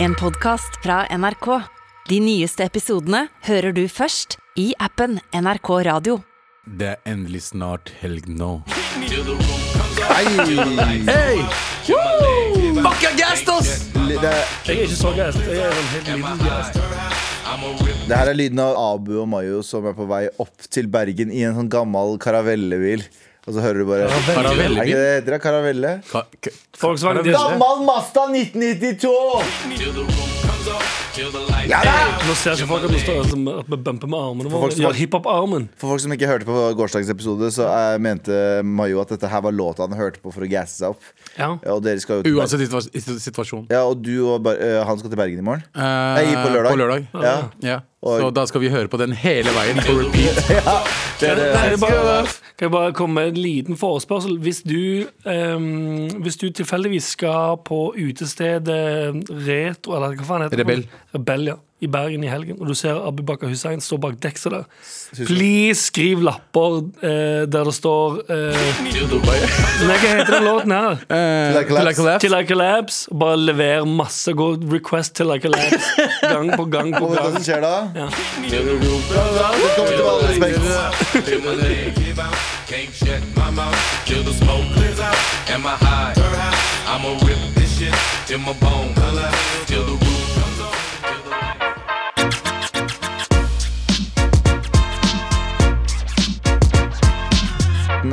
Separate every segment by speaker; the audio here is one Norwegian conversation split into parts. Speaker 1: En podcast fra NRK. De nyeste episodene hører du først i appen NRK Radio.
Speaker 2: Det er endelig snart helg nå.
Speaker 3: Jeg er ikke så gæst. Jeg er en helt liten gæst.
Speaker 4: Det her er lyden av Abu og Mayo som er på vei opp til Bergen i en sånn gammel karavellebil. Og så hører du bare Er ikke det
Speaker 2: Karavellebil.
Speaker 4: det heter? da? Karavelle?
Speaker 2: Ka ka
Speaker 3: Volkswagen Diesel.
Speaker 4: Gammel Mazda 1992! Ja da!
Speaker 3: Nå ser ikke folk at vi står som at vi bumper med armene
Speaker 4: folk
Speaker 3: våre.
Speaker 4: som
Speaker 3: Ja,
Speaker 4: har-
Speaker 3: hiphop-armen.
Speaker 4: For folk som ikke hørte på gårsdagens episode, så eh, mente Mayo at dette her var låta han hørte på for å gasse seg opp.
Speaker 3: Ja.
Speaker 4: Ja, og dere skal jo til Bergen.
Speaker 2: Uansett situa- situ- situasjon.
Speaker 4: Ja, og du og Ber- eh, han skal til Bergen i morgen?
Speaker 2: Eh,
Speaker 4: Nei, på lørdag.
Speaker 2: På lørdag.
Speaker 4: Ja,
Speaker 2: Ja.
Speaker 4: Og-
Speaker 2: Så da skal vi høre på den hele veien på repeat.
Speaker 4: det er det.
Speaker 3: Kan jeg, bare, kan jeg bare komme med en liten forespørsel? Hvis du, ehm, hvis du tilfeldigvis skal på utestedet Retro, eller hva faen heter det?
Speaker 2: Rebell.
Speaker 3: Rebell, ja. I Bergen i helgen, og du ser Abu Bakar Hussein stå bak dekset der. Please skriv lapper eh, der det står eh, Nei, hva heter den låten her?
Speaker 2: Eh,
Speaker 4: Till I
Speaker 2: Till
Speaker 4: Collapse.
Speaker 2: I Collapse.
Speaker 3: Til I Collapse. Bare lever masse god request til I Collapse. Gang på gang på
Speaker 4: Og vet du hva
Speaker 3: gang.
Speaker 4: som skjer da?
Speaker 3: Ja.
Speaker 4: Velkommen til Med all respekt.
Speaker 5: Can't shut my mouth till the smoke clears out. Am I high? I'ma rip this shit till my bone collapse. Till the roof comes off. Till the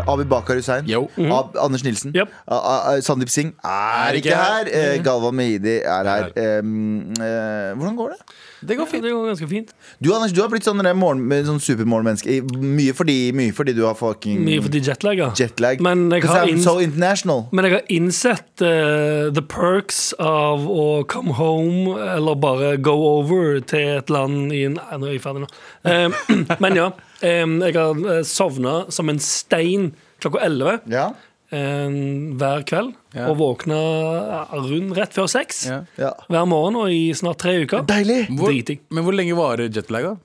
Speaker 4: Abu Bakar Hussein.
Speaker 2: Yo.
Speaker 4: Ab Anders Nilsen.
Speaker 3: Yep.
Speaker 4: A- A- A- Sandeep Singh er
Speaker 2: ikke
Speaker 4: ikke her.
Speaker 2: her.
Speaker 4: Eh, Galvan Mehidi er her. Em, eh, hvordan går det?
Speaker 3: Det går fint. Det går ganske fint.
Speaker 4: Du Anders, du har blitt sånn, der morgen, med sånn supermorgenmenneske. I- Mye fordi, mye fordi du har fucking
Speaker 3: Mye fordi jetlag, ja.
Speaker 4: jetlag.
Speaker 3: Men jeg
Speaker 4: 'Cause
Speaker 3: har
Speaker 4: I'm
Speaker 3: inns-
Speaker 4: so international.
Speaker 3: Men jeg har innsett eh, the perks av å come home eller bare go over til et land i en Nei, nå er jeg ferdig nå. Eh, men ja. eh, jeg har sovna som en stein klokka 11
Speaker 4: Ja,
Speaker 3: eh, hver kveld.
Speaker 2: Ja.
Speaker 3: Og våkna rundt rett før seks
Speaker 2: Ja.
Speaker 4: ja.
Speaker 3: hver morgen og i snart tre uker.
Speaker 4: Deilig!
Speaker 2: Hvor,
Speaker 3: Driting.
Speaker 2: men hvor lenge varer jetlag, da?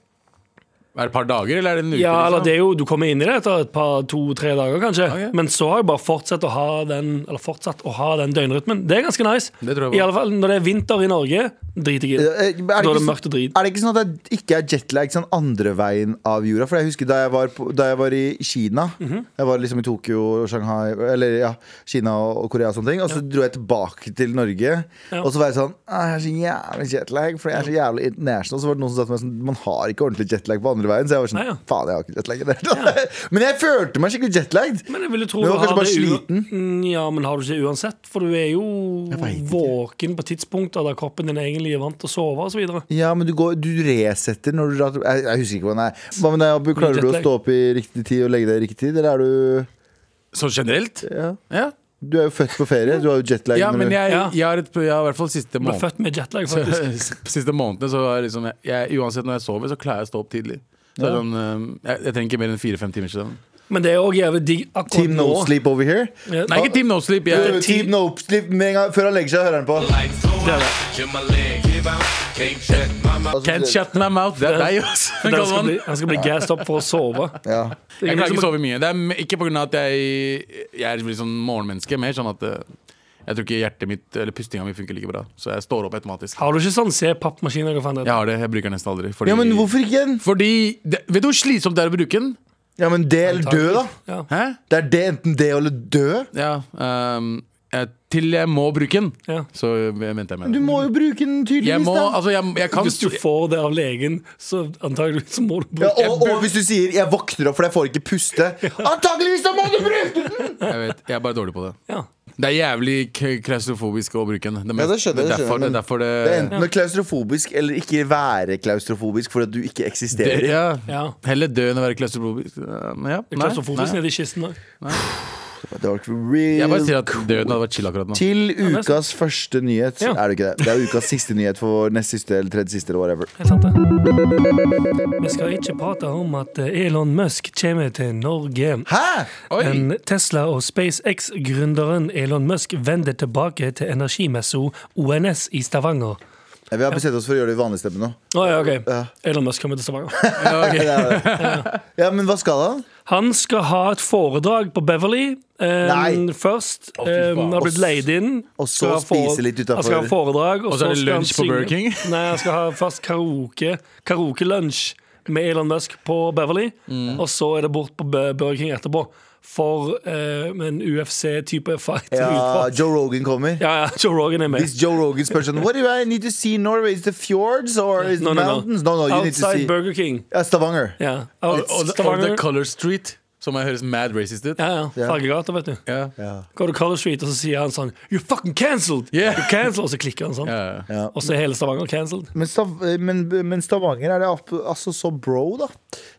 Speaker 2: Er det et par dager, eller er det en uke?
Speaker 3: Ja, eller
Speaker 2: liksom?
Speaker 3: det er jo, Du kommer inn i det etter et par, to-tre dager, kanskje.
Speaker 2: Ok.
Speaker 3: Men så har jeg bare fortsatt å ha den Eller fortsatt å ha den døgnrytmen. Det er ganske nice.
Speaker 2: Det tror jeg på.
Speaker 3: I alle fall når det er vinter i Norge, driter jeg i
Speaker 4: Eh,
Speaker 3: det.
Speaker 4: Er det,
Speaker 3: Da er det
Speaker 4: ikke
Speaker 3: mørkt og drit.
Speaker 4: sånn, er det ikke sånn at det ikke er jetlag sånn andre veien av jorda? For jeg husker da jeg var, på, da jeg var i Kina.
Speaker 3: Mhm.
Speaker 4: Jeg var liksom i Tokyo og Shanghai Eller ja, Kina og og Korea og sånne ting. Og så dro jeg tilbake til Norge.
Speaker 3: Ja.
Speaker 4: Og så var jeg sånn «Ah, Jeg er så jævlig jetlag, for jeg er så jævlig international. Så var det noen som sa til meg sånn Man har ikke ordentlig jetlag på andre veien. Så jeg var sånn
Speaker 3: Nei, ja.
Speaker 4: Faen, jeg har ikke jetlag. i det hele tatt». Men jeg følte meg skikkelig jetlagd.
Speaker 3: Men jeg ville tro
Speaker 4: Men
Speaker 3: du
Speaker 4: du var
Speaker 3: har
Speaker 4: kanskje
Speaker 3: det
Speaker 4: bare
Speaker 3: u- Mm, Ja, men har du ikke det uansett? For du er jo
Speaker 4: vet ikke.
Speaker 3: våken på tidspunkter der kroppen din egentlig er vant til å sove osv.
Speaker 4: Ja, men du, går, du resetter når du drar til jeg, jeg husker ikke hvordan det er. Hva med deg, Abu? Klarer du å
Speaker 3: Jetlag.
Speaker 4: stå opp i riktig tid og legge deg i riktig tid, eller er du
Speaker 2: Så generelt?
Speaker 4: Ja.
Speaker 2: Ja,
Speaker 4: Du er jo født på ferie. Du har jo jetlag.
Speaker 2: ja
Speaker 4: når
Speaker 2: men
Speaker 4: du-
Speaker 2: jeg,
Speaker 3: Ja.
Speaker 2: jeg har et, jeg har i hvert fall siste
Speaker 3: Du ble
Speaker 2: måned.
Speaker 3: født med jetlag, faktisk.
Speaker 2: Siste månedene så er liksom jeg, jeg, Uansett når jeg sover, så klarer jeg å stå opp tidlig. Så er det sånn, eh, jeg, jeg trenger ikke mer enn fire-fem timer søvn.
Speaker 3: Men det er òg jævlig digg akkurat
Speaker 4: Team
Speaker 3: nå.
Speaker 4: No Sleep over here.
Speaker 3: Ja,
Speaker 2: Nei, ikke Team No Sleep. Jeg,
Speaker 4: Uh, Team No Sleep med en gang før han legger seg, hører han på.
Speaker 5: lights go out. Till my leg give out. Can't shut my mouth.
Speaker 4: Altså,
Speaker 2: Can't shut my mouth. Det er deg, altså.
Speaker 3: Han skal
Speaker 2: Galvan.
Speaker 3: bli, han skal bli gassed opp for å sove.
Speaker 4: Ja.
Speaker 3: Det er
Speaker 2: Jeg klarer
Speaker 3: liksom-
Speaker 2: ikke å sove mye. Det er m- ikke pga. at jeg, jeg er liksom morgenmenneske. Mer sånn at eh, jeg tror ikke hjertet mitt eller pustinga mi funker like bra. Så jeg står opp automatisk.
Speaker 3: Har du ikke sånn C-pappmaskin? eller hva faen det
Speaker 2: Jeg
Speaker 3: heter?
Speaker 2: har det. Jeg bruker den nesten aldri. Fordi,
Speaker 4: ja, men hvorfor ikke den?
Speaker 2: fordi det, Vet du hvor slitsomt det er å bruke den?
Speaker 4: Ja, men det eller dø, da.
Speaker 3: Ja.
Speaker 2: Hæ?
Speaker 4: Det er det, enten det eller dø.
Speaker 2: Ja. ehm, eh, til jeg må bruke den,
Speaker 3: Ja.
Speaker 2: så venter jeg med
Speaker 4: Du
Speaker 2: den.
Speaker 4: må jo bruke den tydeligvis,
Speaker 2: Jeg må,
Speaker 4: da.
Speaker 2: altså, jeg, jeg kan
Speaker 3: Hvis du får det av legen, så antageligvis må du bruke
Speaker 4: ja, og, og hvis du sier 'jeg våkner opp fordi jeg får ikke puste', antakeligvis da må du bruke den!
Speaker 2: Jeg vet, jeg er bare dårlig på det.
Speaker 3: Ja.
Speaker 2: Det er jævlig k- klaustrofobisk å bruke den. Det,
Speaker 4: Ja,
Speaker 2: mest-
Speaker 4: det skjønner jeg,
Speaker 2: det er
Speaker 4: det
Speaker 2: derfor,
Speaker 4: skjønner
Speaker 2: det,
Speaker 4: jeg,
Speaker 2: er derfor det,
Speaker 4: Det er enten å være klaustrofobisk eller ikke være klaustrofobisk fordi at du ikke eksisterer.
Speaker 2: ja.
Speaker 3: Ja.
Speaker 2: Heller dø enn å være klaustrofobisk. Um, Ja. Nei,
Speaker 3: Klaustrofobisk
Speaker 2: nei.
Speaker 3: nede i kisten. da.
Speaker 4: Det var ikke
Speaker 2: Jeg bare
Speaker 4: real
Speaker 2: sier at døden hadde vært chill akkurat nå.
Speaker 4: Til
Speaker 3: er
Speaker 4: ukas første nyhet.
Speaker 3: Ja.
Speaker 4: Er det ikke det? Det er ukas siste nyhet for nest siste eller tredje siste eller whatever.
Speaker 3: Helt sant, det. Vi skal ikke prate om at Elon Musk kommer til Norge.
Speaker 4: Hæ?
Speaker 2: Oi!
Speaker 3: Men Tesla og SpaceX-gründeren Elon Musk vender tilbake til energimessa ONS i Stavanger.
Speaker 4: Ja, Vi har bestemt oss for å gjøre det i vanlig stemme nå.
Speaker 3: Å, ja, ok.
Speaker 4: Ja.
Speaker 3: Elon Musk kommer til Stavanger.
Speaker 4: Ja, det er det. ja, men hva skal han?
Speaker 3: Han skal ha et foredrag på Beverly eh,
Speaker 4: Nei.
Speaker 3: først.
Speaker 2: fy faen.
Speaker 3: Eh, han har blitt leid inn.
Speaker 4: Og så
Speaker 3: Skal ha fore-
Speaker 4: spise litt utenfor.
Speaker 3: Han skal ha foredrag, og,
Speaker 2: Og så er det
Speaker 3: skal han
Speaker 2: lunsj på
Speaker 3: synge-
Speaker 2: Burger King.
Speaker 3: Nei, han skal ha først karaoke. Karaokelunsj med Elon Musk på Beverly.
Speaker 2: Mm.
Speaker 3: Og så er det bort på Bur- Burger King etterpå for eh, en UFC-type fight.
Speaker 4: Ja,
Speaker 3: Utfor-
Speaker 4: Joe Rogan kommer.
Speaker 3: ja, ja, Joe Rogan er med.
Speaker 4: Hvis Joe Rogan spør sånn What do I need to see Norway? Is the fjords or is the
Speaker 3: No, no, no.
Speaker 4: mountains? No, no, you need to
Speaker 3: Outside
Speaker 4: see
Speaker 3: Burger King.
Speaker 4: ja, Stavanger.
Speaker 3: Ja.
Speaker 2: Og, og,
Speaker 3: Out,
Speaker 2: og, The
Speaker 3: Stavanger.
Speaker 2: Color Street, som jeg høres mad racist ut.
Speaker 3: Ja, ja. Fargegata, vet du.
Speaker 2: Ja.
Speaker 4: Ja.
Speaker 3: Går du Color Street, og så sier han sånn You're fucking cancelled!
Speaker 2: Yeah.
Speaker 3: You're cancelled! Og så klikker han sånn.
Speaker 2: Ja.
Speaker 4: Ja.
Speaker 3: Og så er hele Stavanger cancelled.
Speaker 4: Men, Stav men, men Stavanger er det opp, altså så bro, da.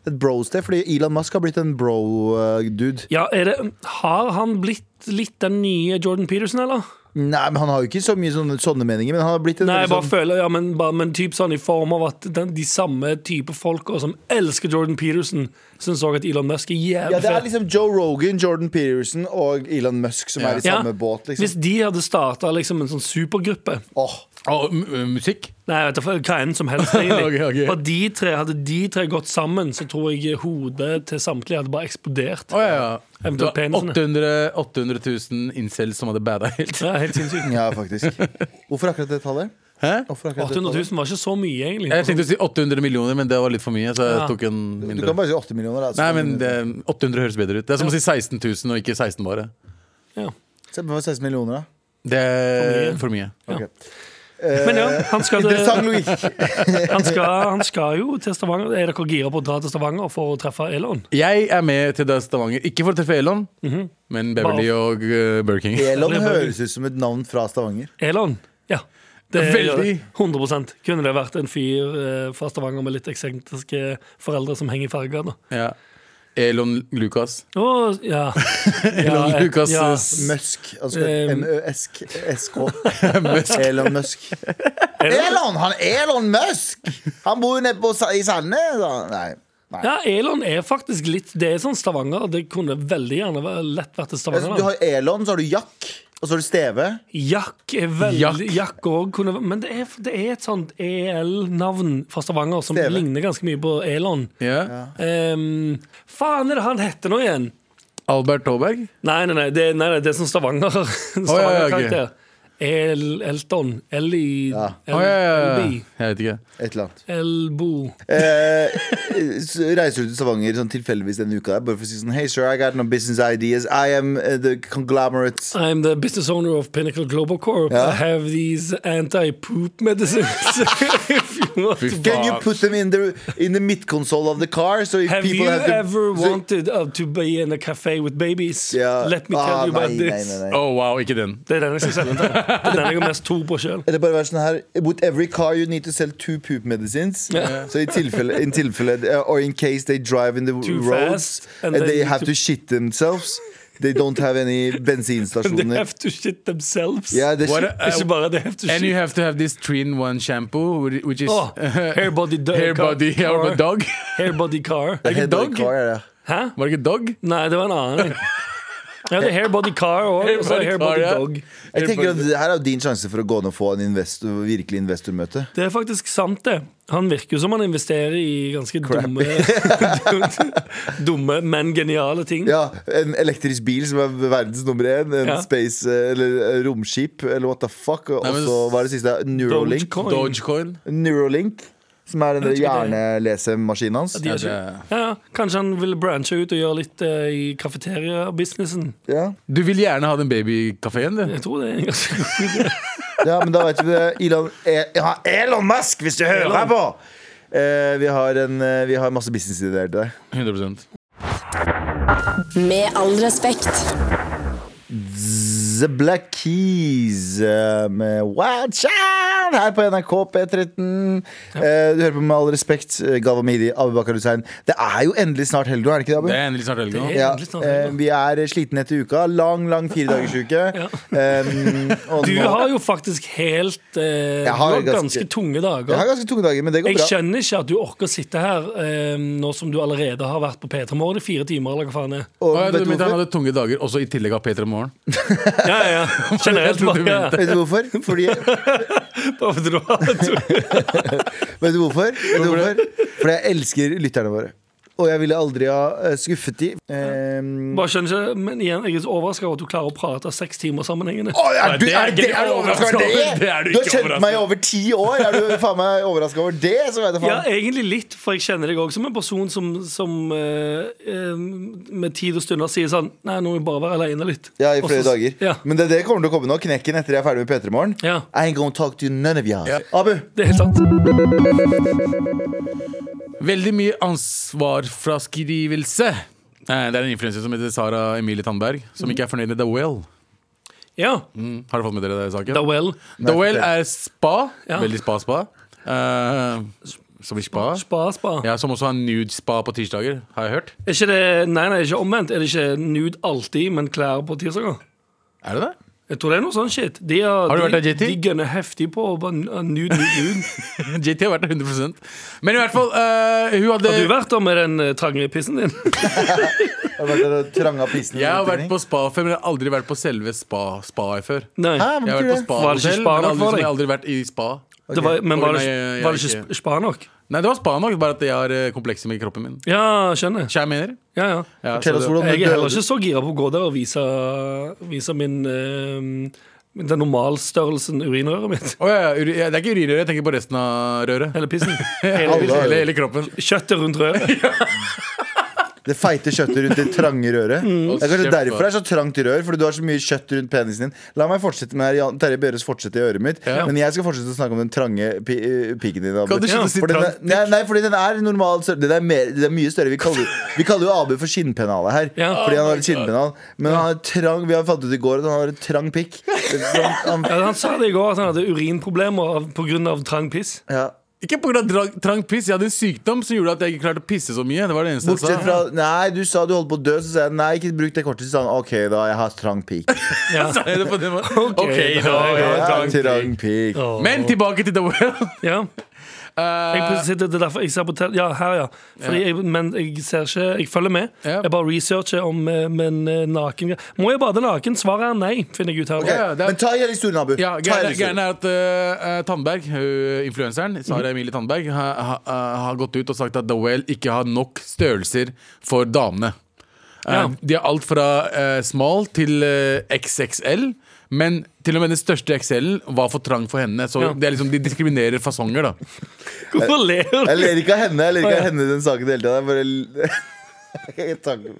Speaker 4: Et bro-sted. Fordi Elon Musk har blitt en eh, bro-dude.
Speaker 3: Ja, er det, Har han blitt litt den nye Jordan Peterson, eller?
Speaker 4: Nei, men Han har jo ikke så mye sånne, sånne meninger, men han har blitt en
Speaker 3: Nei, jeg
Speaker 4: veldig
Speaker 3: bare
Speaker 4: sånn,
Speaker 3: føler, ja, men, bare, men typ sånn i form av at den, de samme type folka som elsker Jordan Peterson, syns òg at Elon Musk er
Speaker 4: Ja,
Speaker 3: jævlig
Speaker 4: Det er
Speaker 3: fet.
Speaker 4: liksom Joe Rogan, Jordan Peterson og Elon Musk som er i
Speaker 3: Ja.
Speaker 4: samme båt.
Speaker 3: Hvis
Speaker 4: liksom
Speaker 3: de hadde starta liksom, en sånn supergruppe
Speaker 4: Åh,
Speaker 2: Og m- m- musikk.
Speaker 3: Nei, jeg vet da faen, hva enn som helst, egentlig.
Speaker 2: Ok, ok.
Speaker 3: Bare de tre, hadde de tre gått sammen, så tror jeg hodet til samtlige hadde bare eksplodert.
Speaker 2: Å ja, ja. Det
Speaker 3: Eventuelt
Speaker 2: var
Speaker 3: penisene.
Speaker 2: 800, 800 000 incels som hadde bada helt.
Speaker 3: Ja, helt sinnssykt.
Speaker 4: Ja, faktisk. Hvorfor akkurat det tallet?
Speaker 2: Hæ?
Speaker 4: Hvorfor akkurat det
Speaker 3: 800
Speaker 4: tallet?
Speaker 3: 000 var ikke så mye,
Speaker 2: Jeg
Speaker 3: egentlig.
Speaker 2: tenkte å si 800 millioner, men det var litt for mye. Så
Speaker 3: Ja.
Speaker 2: jeg tok en
Speaker 4: Du kan
Speaker 2: mindre
Speaker 4: bare si 8 millioner. Da, så
Speaker 2: Nei,
Speaker 4: kan
Speaker 2: men
Speaker 4: du-
Speaker 2: det, 800 høres bedre ut. Det er som å si 16 000 og ikke 16 bare.
Speaker 3: Ja.
Speaker 4: Se på 16 millioner, da.
Speaker 2: Det er for mye.
Speaker 4: Ok.
Speaker 3: Men ja, han skal,
Speaker 4: Interessant logikk.
Speaker 3: han, skal, han skal jo til Stavanger. Er dere gira på å dra til Stavanger for å treffe Elon?
Speaker 2: Jeg er med til Stavanger. Ikke for å treffe Elon, men Beverly
Speaker 3: Bare-
Speaker 2: og uh, Burger King.
Speaker 4: Elon høres ut som et navn fra Stavanger.
Speaker 3: Elon? Ja. Det
Speaker 2: Veldig.
Speaker 3: 100 Kunne det vært en fyr eh, fra Stavanger med litt eksentriske foreldre som henger i farger? Da?
Speaker 2: Ja. Elon Lucas.
Speaker 3: Å, ja.
Speaker 2: Elon
Speaker 3: Ja, eh,
Speaker 2: Lucas
Speaker 3: ja.
Speaker 2: s-
Speaker 4: Musk. Altså M-Ø-S-K.
Speaker 2: Musk.
Speaker 4: Elon Musk. Elon! Han Elon Musk! Han bor jo nede på Sa- i Sandnes. da. Nei. Nei.
Speaker 3: Ja, Elon er faktisk litt Det er sånn Stavanger. Det kunne veldig gjerne vært- lett vært til
Speaker 4: Altså,
Speaker 3: Stavanger.
Speaker 4: du
Speaker 3: da.
Speaker 4: har Elon, så har du Jack, og så har du Steve.
Speaker 3: Jack er veldig Jack òg kunne vært- Men det er, det er et sånt EL-navn fra Stavanger som
Speaker 4: Steve.
Speaker 3: ligner ganske mye på Elon.
Speaker 2: Ja.
Speaker 3: Ehm, faen er det han heter nå igjen?
Speaker 2: Albert Aaberg.
Speaker 3: Nei, nei, nei, det, nei, nei, det er sånn Stavanger.
Speaker 2: ja, ja, ok.
Speaker 3: Stavanger-karakter. El, Elton. Elli
Speaker 4: Ja.
Speaker 3: El,
Speaker 2: Å, ja, ja, ja.
Speaker 3: Elbi.
Speaker 2: Jeg vet ikke.
Speaker 4: Et eller annet.
Speaker 3: Elbo.
Speaker 4: Eh, s- reiser du til Stavanger sånn tilfeldigvis denne uka? der, Bare for å si sånn Hey, sir, I got no business ideas. I am eh, the conglomerate.
Speaker 3: I'm the business owner of Pinnacle Global Corp.
Speaker 4: Ja.
Speaker 3: I have these anti-poop medicines. If you want to
Speaker 4: Can you put them in the, in the mid-console of the car? So if
Speaker 3: Have
Speaker 4: people
Speaker 3: you
Speaker 4: have to,
Speaker 3: ever
Speaker 4: so-
Speaker 3: wanted uh, to be in a cafe with babies?
Speaker 4: Ja.
Speaker 3: Let me tell
Speaker 4: Ah,
Speaker 3: you about
Speaker 4: nei,
Speaker 3: this.
Speaker 4: Nei, nei, nei.
Speaker 2: Å, Oh, wow, ikke den.
Speaker 3: Det er den jeg skal selge til. Det er den jeg har mest tro på sjøl.
Speaker 4: Eller bare være sånn her With every car you need to sell two poop medicines.
Speaker 3: Ja.
Speaker 4: Så i tilfelle, in tilfelle uh, Or in case they drive in the
Speaker 3: Too
Speaker 4: roads
Speaker 3: fast, and
Speaker 4: and,
Speaker 3: they
Speaker 4: they
Speaker 3: need
Speaker 4: have
Speaker 3: to-
Speaker 4: to shit themselves. They don't have any
Speaker 3: They
Speaker 4: bensinstasjoner.
Speaker 3: have to shit themselves.
Speaker 4: Ja, det er
Speaker 2: What
Speaker 4: shit.
Speaker 2: a-
Speaker 3: Ikke bare they have to
Speaker 2: And you
Speaker 3: shit.
Speaker 2: have to have this three in one shampoo, whi- which is
Speaker 3: Oh, hair body dog.
Speaker 2: hair body hair of a dog.
Speaker 3: Hair body car.
Speaker 2: er ikke
Speaker 4: Head of the
Speaker 2: dog.
Speaker 4: car, er det.
Speaker 3: Hæ?
Speaker 2: Var det ikke dog?
Speaker 3: Nei, det var en annen. Ja, det er hair body car og og så er det hair body
Speaker 2: ja.
Speaker 3: dog.
Speaker 4: Jeg tenker at det her er jo din sjanse for å gå ned og få en investor, virkelig investormøte.
Speaker 3: Det er faktisk sant, det. Han virker jo som han investerer i ganske dumme Dumme, men geniale ting.
Speaker 4: Ja, En elektrisk bil som er verdens nummer én. En
Speaker 3: Ja.
Speaker 4: space, eh, eller eh, romskip, eller what the fuck. Og
Speaker 2: Nei, men-
Speaker 4: så hva er det siste? Neuralink.
Speaker 3: Dogecoin.
Speaker 2: Dogecoin.
Speaker 4: Neuralink Som er den der
Speaker 3: Jeg tror det
Speaker 4: hjernelesemaskinen hans.
Speaker 3: De
Speaker 2: Ja,
Speaker 3: er ikke-
Speaker 2: det er-
Speaker 3: Ja, ja. Kanskje han vil branche ut og gjøre litt eh, i kafeteria-businessen.
Speaker 4: Ja.
Speaker 2: Du vil gjerne ha den babykafeen, du.
Speaker 3: Jeg tror det er en ganske god idé.
Speaker 4: Ja, men da vet vi det. Elon, E- ja, Elon Musk, hvis du hører
Speaker 3: Elon.
Speaker 4: her på! Eh, vi, har en, eh, vi har masse businessidéer til deg.
Speaker 2: 100
Speaker 6: Med all respekt.
Speaker 4: The Black Keys eh, med Watch Out her på NRK P13. Eh, du hører på Med all respekt, eh, Galva Mehidi, Abubakar Hussein. Det er jo endelig snart helg nå, er det ikke det, Abu?
Speaker 2: Det er endelig snart helg nå.
Speaker 3: Det er-
Speaker 4: Ja,
Speaker 3: endelig snart helg
Speaker 4: eh,
Speaker 3: nå.
Speaker 4: vi er slitne etter uka. Lang, lang firedagersuke. Um, og
Speaker 3: Du
Speaker 4: nå-
Speaker 3: har jo faktisk helt eh,
Speaker 4: Jeg har
Speaker 3: Du har
Speaker 4: ganske-
Speaker 3: ganske tunge
Speaker 4: Jeg har
Speaker 3: dager.
Speaker 4: ganske tunge dager, men det går
Speaker 3: Jeg
Speaker 4: bra.
Speaker 3: skjønner ikke at du orker å sitte her eh, nå som du allerede har vært på P3 Morgen i fire timer. eller hva faen det er
Speaker 4: Og,
Speaker 2: Å, ja,
Speaker 4: vet,
Speaker 2: du mente
Speaker 4: du
Speaker 2: han
Speaker 4: hvorfor?
Speaker 2: hadde tunge dager, også i tillegg av P3 Morgen.
Speaker 3: Ja, ja, ja. Generelt bare
Speaker 4: vet du hvorfor? Fordi
Speaker 3: Håper du har
Speaker 4: Vet du hvorfor? Vet du hvorfor? Fordi jeg elsker lytterne våre. Og jeg ville aldri ha eh, skuffet de. Ehm,
Speaker 3: Bare skjønner ikke, men igjen, jeg er så overraska over at du klarer å prate seks timer sammenhengende.
Speaker 4: Å, er
Speaker 2: Nei,
Speaker 4: du,
Speaker 2: det er
Speaker 4: er,
Speaker 2: ikke
Speaker 4: det,
Speaker 2: du
Speaker 4: er du overraska over det?
Speaker 2: overrasket over. Det er du
Speaker 4: du har
Speaker 2: ikke
Speaker 4: kjent
Speaker 2: overrasket
Speaker 4: meg i over ti år. Er du faen meg overraska over det? Så vet jeg
Speaker 3: Ja,
Speaker 4: faen.
Speaker 3: egentlig litt, for jeg kjenner deg òg som en person som, som eh, eh, med tid og stunder sier sånn Nei, nå må jeg bare være aleine litt.
Speaker 4: Ja, i
Speaker 3: Og
Speaker 4: flere
Speaker 3: så-
Speaker 4: dager.
Speaker 3: Ja.
Speaker 4: Men det, det kommer til å komme nå. Knekken etter jeg er ferdig med P3 Morgen.
Speaker 3: Ja.
Speaker 4: I ain't gonna talk to none of y'all. Abu,
Speaker 3: Det er helt sant.
Speaker 2: Veldig mye ansvarsfraskrivelse. Eh, Det er en influenser som heter Sara Emilie Tandberg,
Speaker 3: Mm.
Speaker 2: som ikke er fornøyd med The Well.
Speaker 3: Ja.
Speaker 2: Mm. Har du fått med dere det saken?
Speaker 3: Da well.
Speaker 2: The Well er spa.
Speaker 3: Ja.
Speaker 2: Veldig spa-spa. som i spa.
Speaker 3: Spa, spa.
Speaker 2: Ja, som også har nude-spa på tirsdager, har jeg hørt.
Speaker 3: Er ikke det Nei, nei, ikke omvendt. Er det ikke nude alltid, men klær på tirsdager?
Speaker 2: Er det det?
Speaker 3: Jeg tror det er noe sånn shit. De har,
Speaker 2: Har du vært der,
Speaker 3: de,
Speaker 2: JT?
Speaker 3: de gønner heftig på å bare n- nude, nude, nude.
Speaker 2: JT har vært der 100 Men i hvert fall, eh, hun hadde
Speaker 3: Har du vært der med den eh, trange pissen din?
Speaker 4: har du vært der og tranga pisen?
Speaker 2: Jeg har vært på spa før, men jeg har aldri vært på selve spa- spaet før.
Speaker 3: Nei.
Speaker 4: Hæ,
Speaker 2: Jeg har
Speaker 4: betyr
Speaker 2: vært på
Speaker 4: det?
Speaker 3: Var det ikke
Speaker 2: spa-hotell,
Speaker 3: spa
Speaker 2: men
Speaker 3: nok
Speaker 2: aldri, som
Speaker 3: for
Speaker 2: jeg
Speaker 3: deg?
Speaker 2: har aldri vært i spa.
Speaker 3: Det var, men var
Speaker 2: Nei,
Speaker 3: det,
Speaker 2: jeg- jeg
Speaker 3: var det
Speaker 2: er
Speaker 3: ikke
Speaker 2: ikke-
Speaker 3: sp- spa nok?
Speaker 2: Nei, det var spa nok, bare at jeg har eh, komplekser med kroppen min.
Speaker 3: Ja, skjønner.
Speaker 2: Skjær mener?
Speaker 3: Ja, ja.
Speaker 2: Ja, så
Speaker 4: Fortell
Speaker 2: Eh,
Speaker 4: oss
Speaker 2: det-
Speaker 4: hvordan
Speaker 3: Jeg
Speaker 4: du
Speaker 3: er heller
Speaker 4: døde.
Speaker 3: ikke så gira på å gå der og vise, vise min eh, Den normalstørrelsen urinrøret mitt.
Speaker 2: Å, ja, ja, uri- ja, det er ikke urinrøret, jeg tenker på resten av røret.
Speaker 3: Hele pissen.
Speaker 2: Hele,
Speaker 4: Alle har
Speaker 2: hele,
Speaker 4: det.
Speaker 2: hele kroppen.
Speaker 3: Kjøttet rundt røret.
Speaker 4: Det feite kjøttet rundt det trange røret. Det er kanskje
Speaker 2: Kjeft,
Speaker 4: derfor det er så trangt rør, fordi du har så mye kjøtt rundt penisen din. La meg fortsette med det her, Jan Terje Børres fortsette i øret mitt,
Speaker 2: Ja.
Speaker 4: men jeg skal fortsette å snakke om den trange pi eh, piken din. Abu.
Speaker 2: Kan du slutte å si
Speaker 4: For den er,
Speaker 2: trangt?
Speaker 4: nei, nei, fordi den er normal større. Den er, mer, den er mye større. Vi kaller, vi kaller jo Abu for skinnpennalet her,
Speaker 3: Ja.
Speaker 4: fordi han
Speaker 2: Oh
Speaker 4: har et skinnpennal. Men han har et trang, vi har fant ut i går at han har et trang pikk. Han, han,
Speaker 3: Ja, han sa det i går, at han hadde urinproblemer pga. trang piss.
Speaker 4: ja.
Speaker 2: Ikke pga. Drang, trang piss, jeg hadde en sykdom som gjorde at jeg ikke klarte å pisse så mye. Det var det eneste jeg sa.
Speaker 4: Bortsett fra Nei, du sa du holdt på å dø, så sa jeg nei, ikke bruk det kortet. Så sa han OK, da, jeg har trang pikk.
Speaker 3: Ja.
Speaker 2: Sa jeg det på den måten?
Speaker 3: Ok,
Speaker 2: Ok, da.
Speaker 3: da,
Speaker 2: jeg har
Speaker 4: Ja,
Speaker 2: trang
Speaker 4: trang pikk.
Speaker 2: Men tilbake til The Well.
Speaker 3: Ja. Jeg
Speaker 2: Eh,
Speaker 3: sitter, det er derfor jeg ser på tel- Ja, her, ja. Fordi Jeg, men jeg ser ikke Jeg følger med.
Speaker 2: Ja.
Speaker 3: Jeg bare researcher om eh, men eh, naken Må jeg bade naken? Svaret er nei, finner jeg ut her.
Speaker 4: Ok,
Speaker 2: Ja, det er-
Speaker 4: Men ta hele historien, Abu.
Speaker 2: ja,
Speaker 4: ta
Speaker 2: greia
Speaker 4: hele historien.
Speaker 2: greia er at eh, eh, Tandberg, hun influenseren,
Speaker 4: Mhm.
Speaker 2: Sara Emilie Tandberg, har ha, ha- har gått ut og sagt at The Well ikke har nok størrelser for damene. Eh,
Speaker 3: Ja.
Speaker 2: De har alt fra eh, small til eh, XXL. Men til og med den største XL-en var for trang for henne. Så
Speaker 3: Ja.
Speaker 2: det er liksom, de diskriminerer fasonger, da. Eh.
Speaker 3: Hvorfor ler du?
Speaker 4: Jeg ler ikke av henne Jeg ler ikke
Speaker 3: Å,
Speaker 4: av
Speaker 3: ja.
Speaker 4: henne i den saken i det hele tatt. Jeg bare- Jeg tanker-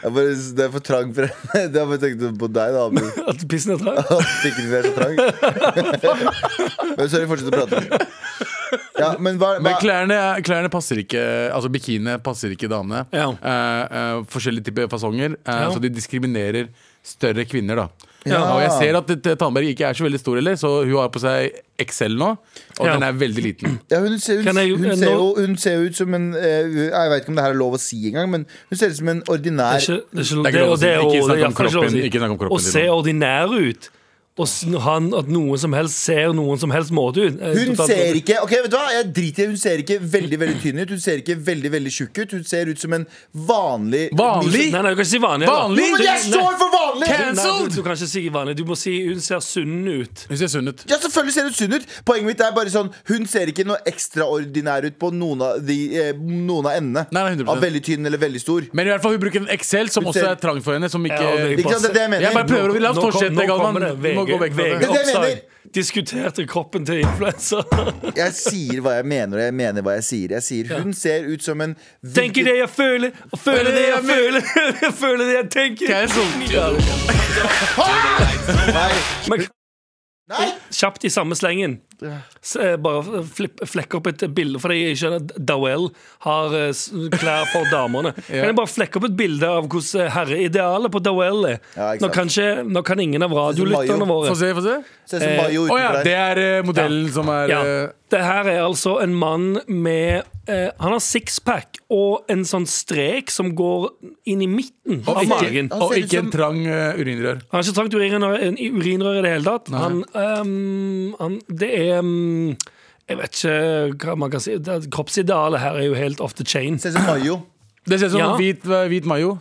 Speaker 4: jeg bare Det er for trang for henne. Det har jeg bare tenkt på deg, da. Abu.
Speaker 3: At pissen er trang?
Speaker 4: Pikken din er så trang. Men sorry, fortsett å prate. Ja, men hva,
Speaker 2: Men
Speaker 4: hva
Speaker 2: klærne, klærne passer ikke Altså bikiniene passer ikke damene.
Speaker 3: Ja.
Speaker 2: Eh, eh, forskjellige typer fasonger. eh,
Speaker 3: Ja.
Speaker 2: Så de diskriminerer større kvinner, da.
Speaker 4: Ja.
Speaker 2: Og jeg ser at eh, Tandberg ikke er så veldig stor heller, så hun har på seg XL nå. Og
Speaker 3: Ja.
Speaker 2: den er veldig liten.
Speaker 4: ja, hun, ser, hun,
Speaker 3: Kan jeg-
Speaker 4: hun,
Speaker 3: eh,
Speaker 4: ser jo,
Speaker 3: nå-
Speaker 4: hun ser jo ut som en eh, Jeg vet ikke om det her er lov å si engang, men hun ser ut som en ordinær
Speaker 3: Det er ikke-
Speaker 2: Det
Speaker 3: det er ikke-
Speaker 2: er ikke
Speaker 3: det-
Speaker 2: lov å
Speaker 3: og
Speaker 2: si.
Speaker 3: det er
Speaker 2: Ikke
Speaker 3: jo-
Speaker 2: snakk
Speaker 3: det er
Speaker 2: om
Speaker 3: kanskje lov å
Speaker 2: kroppen.
Speaker 3: si.
Speaker 2: Ikke snakk om kroppen din
Speaker 3: Å se
Speaker 2: nå.
Speaker 3: ordinær ut. Og sn- han, at noen som helst ser noen som helst måte ut. eh,
Speaker 4: Hun
Speaker 3: totalt-
Speaker 4: ser ikke Ok, vet du hva? Jeg driter i det. Hun ser ikke veldig veldig tynn ut. Hun ser ikke veldig veldig tjukk ut. Hun ser ut som en vanlig
Speaker 2: Vanlig?
Speaker 3: Nei, nei, du kan ikke si vanlig. da.
Speaker 2: Vanlig?
Speaker 4: Jo, men jeg står for vanlig!
Speaker 3: Nei, du,
Speaker 2: Cancelled!
Speaker 3: du kan ikke si vanlig. Du må si hun ser sunn ut.
Speaker 2: Hun ser sunn ut.
Speaker 4: Ja, selvfølgelig ser hun sunn ut. Poenget mitt er bare sånn Hun ser ikke noe ekstraordinær ut på noen av, de, eh, noen av endene.
Speaker 2: Nei, nei, 100%.
Speaker 4: Av veldig tynn eller veldig stor.
Speaker 2: Men i hvert fall hun bruker en XL som
Speaker 4: Hun
Speaker 2: også
Speaker 4: ser-
Speaker 2: er trang for henne. Som ikke
Speaker 3: Ja, det-
Speaker 4: Ikke sant, det er det jeg mener.
Speaker 2: Jeg bare prøver å La oss
Speaker 3: Nå kom-
Speaker 2: fortsette,
Speaker 3: nå
Speaker 2: Galvan.
Speaker 3: kommer det.
Speaker 2: Vi må
Speaker 3: VG
Speaker 2: gå vekk fra det.
Speaker 4: Det er det jeg
Speaker 3: VG-oppslag.
Speaker 4: mener.
Speaker 3: Diskuterte kroppen til influensa.
Speaker 4: Jeg sier hva jeg mener, og jeg mener hva jeg sier. Jeg sier Hun ser ut som en
Speaker 3: Tenker det jeg føler, og føler det jeg føler. Jeg føler det jeg tenker.
Speaker 2: Cancelled.
Speaker 3: Ja,
Speaker 4: Nei!
Speaker 3: Men
Speaker 4: nei.
Speaker 3: kjapt i samme slengen. S- eh, Bare flipp, flekke opp et bilde, fordi jeg skjønner at Dawell har eh, s- klær for damene. Kan jeg bare flekke opp et bilde av hvordan herreidealet på Dawell er?
Speaker 4: Ja, ikke
Speaker 3: nå,
Speaker 4: sant.
Speaker 3: kan ikke, nå kan ingen av radiolytterne
Speaker 4: Mayo.
Speaker 2: Få
Speaker 3: våre
Speaker 2: se, få se.
Speaker 4: Ser ut som Mayo
Speaker 2: Å ja, det
Speaker 4: utenfor der.
Speaker 2: er eh, modellen som er
Speaker 3: ja.
Speaker 2: eh,
Speaker 3: Det her er altså en mann med eh, Han har sixpack og en sånn strek som går inn i midten
Speaker 2: og
Speaker 3: av
Speaker 2: ikke,
Speaker 3: magen.
Speaker 4: Han
Speaker 2: og
Speaker 4: ser ut
Speaker 2: ikke en
Speaker 4: som-
Speaker 2: trang eh, urinrør.
Speaker 3: Han har ikke trangt urinrør, en- i urinrør i det hele tatt. Han, ehm, han, det er ehm, Jeg vet ikke hva man kan si. Det, kroppsidealet her er jo helt off the chain.
Speaker 4: Ser ut som Mayo.
Speaker 2: Det ser ut som
Speaker 3: Ja.
Speaker 2: hvit, eh, hvit mayo.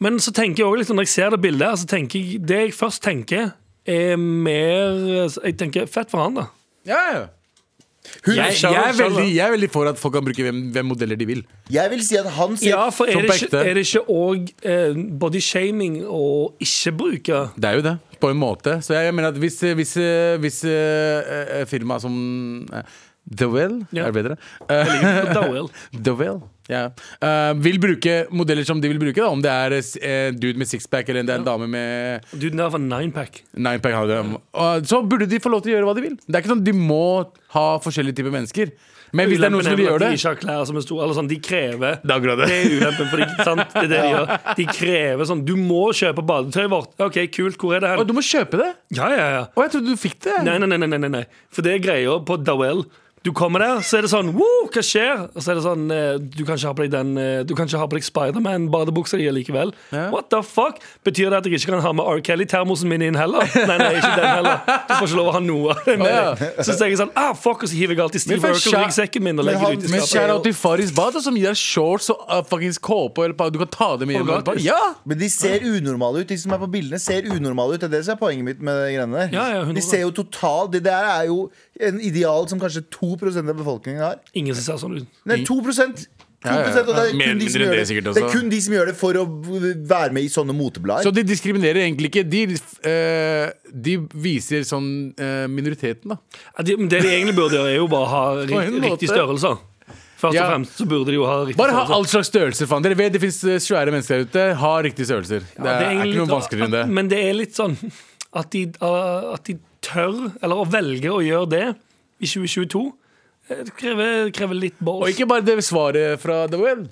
Speaker 3: Men så tenker jeg også litt, når jeg ser det bildet, her, så tenker jeg, det jeg først tenker, er mer Jeg tenker fett for han, da.
Speaker 2: Ja, ja. Hun,
Speaker 3: Jeg-
Speaker 2: jeg, er
Speaker 3: jeg er
Speaker 2: veldig, jeg er veldig for at folk kan bruke hvem, hvem modeller de vil.
Speaker 4: Jeg vil si at han ser
Speaker 3: Ja, for er
Speaker 2: Som
Speaker 3: det
Speaker 2: på
Speaker 3: ikke,
Speaker 2: ekte.
Speaker 3: er det ikke òg eh, bodyshaming å ikke bruke
Speaker 2: Det er jo det, på en måte. Så jeg, mener at hvis, hvis, hvis eh, eh, firma som eh, The Well
Speaker 3: Ja.
Speaker 2: er bedre. Eh,
Speaker 3: Dowell?
Speaker 2: The Well. ja. Eh, vil bruke modeller som de vil bruke, da. om det er eh, dude med sixpack eller det er en dame med
Speaker 3: Du, den der var ninepack.
Speaker 2: ninepack. har det. Og Så burde de få lov til å gjøre hva de vil. Det er ikke sånn De må ha forskjellige typer mennesker. Men hvis det er noen som vil gjøre
Speaker 3: De
Speaker 2: det
Speaker 3: ikke har klær som er store. Eller sånn, de krever
Speaker 2: Det er akkurat det.
Speaker 3: Det er ulempen, for de, sant? Det er det de gjør. De krever sånn Du må kjøpe badetøyet vårt. OK, kult. Hvor er det
Speaker 2: Og
Speaker 3: hen?
Speaker 2: du må kjøpe det!
Speaker 3: Ja, ja, ja.
Speaker 2: Å, jeg trodde du fikk det!
Speaker 3: Nei, nei, nei, nei, nei, nei. For det er greia på Dowell. Du kommer der, så er det sånn Woo, hva skjer? Og så er det sånn eh, Du kan ikke ha på deg den eh, Du kan ikke ha på deg Spiderman-badebuksa di likevel. What the fuck? Betyr det at jeg ikke kan ha med R. Kelly-termosen min inn heller? Nei, nei, ikke den heller. Du får ikke lov å ha noe av det med
Speaker 2: Å,
Speaker 3: deg. Så tenker jeg sånn Ah, fuck, og så hiver jeg
Speaker 2: Men
Speaker 3: alltid Steve
Speaker 2: for skjær-
Speaker 3: Urkel-ryggsekken min og
Speaker 4: Men
Speaker 3: legger
Speaker 4: han-
Speaker 3: det ut i
Speaker 2: Men
Speaker 3: skapet.
Speaker 2: shout out til Faris Bad, som gir deg shorts og uh, fuckings kåpe. eller pa- Du kan ta dem med hjem.
Speaker 3: Og gratis.
Speaker 2: Ja!
Speaker 4: Men de ser unormale ut. De som er på bildene, ser unormale ut. Det er det som er poenget mitt med de greiene der.
Speaker 3: Ja, ja, 100%.
Speaker 4: de ser jo totalt Det der er jo en ideal som kanskje 2 av befolkningen har.
Speaker 3: Ingen som ser sånn ut.
Speaker 4: Nei, 2 2
Speaker 2: Ja, ja, ja.
Speaker 4: og det, er
Speaker 2: Mer
Speaker 4: kun
Speaker 2: eller
Speaker 4: de
Speaker 2: mindre
Speaker 4: som gjør
Speaker 2: det
Speaker 4: det.
Speaker 2: sikkert
Speaker 4: det er
Speaker 2: også.
Speaker 4: kun de som gjør det for å være med i sånne moteblader.
Speaker 2: Så de diskriminerer egentlig ikke. De, eh, de viser sånn eh, minoriteten, da.
Speaker 3: Ja, de- men Det de egentlig burde gjøre, er jo bare å ha
Speaker 2: På en
Speaker 3: rikt,
Speaker 2: måte.
Speaker 3: riktig størrelse. Først og
Speaker 2: Ja.
Speaker 3: fremst så burde de jo ha riktig
Speaker 2: Bare ha
Speaker 3: størrelse.
Speaker 2: all slags størrelser, faen. Dere vet det fins svære mennesker der ute. Ha riktige størrelser. det, er, er
Speaker 3: egentlig
Speaker 2: ikke noe
Speaker 3: litt-
Speaker 2: vanskeligere enn det.
Speaker 3: Men det er litt sånn at de, uh, at de tør, eller å velge å gjøre det i 2022, eh, det krever, krever litt balls.
Speaker 2: Og ikke bare det svaret fra The Well.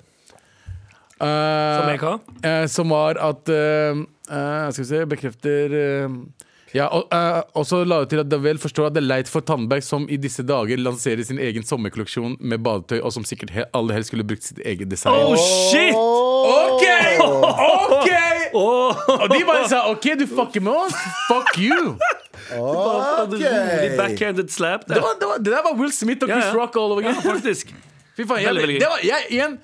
Speaker 3: som jeg har.
Speaker 2: eh, som var at eh, eh, Skal vi se, bekrefter eh, ja, og, eh, også la det til at Davel forstår at det er leit for Tandberg, som i disse dager lanserer sin egen sommerkolleksjon med badetøy, og som sikkert he alle helst skulle brukt sitt eget design.
Speaker 3: Oh shit!
Speaker 2: OK! OK! Og de bare sa OK, du fucker med oss. Fuck you.
Speaker 3: Bare for en rolig
Speaker 4: Ok!
Speaker 3: Backhanded slap.
Speaker 2: Det,
Speaker 3: Der.
Speaker 2: var, det, var, det der var Will Smith og
Speaker 3: Ja,
Speaker 2: Chris
Speaker 3: ja.
Speaker 2: Rock all over
Speaker 3: Ja,
Speaker 2: again.
Speaker 3: faktisk.
Speaker 2: Fy faen, jeg,
Speaker 3: Veldig, veldig gøy.
Speaker 2: det var, jeg, igjen,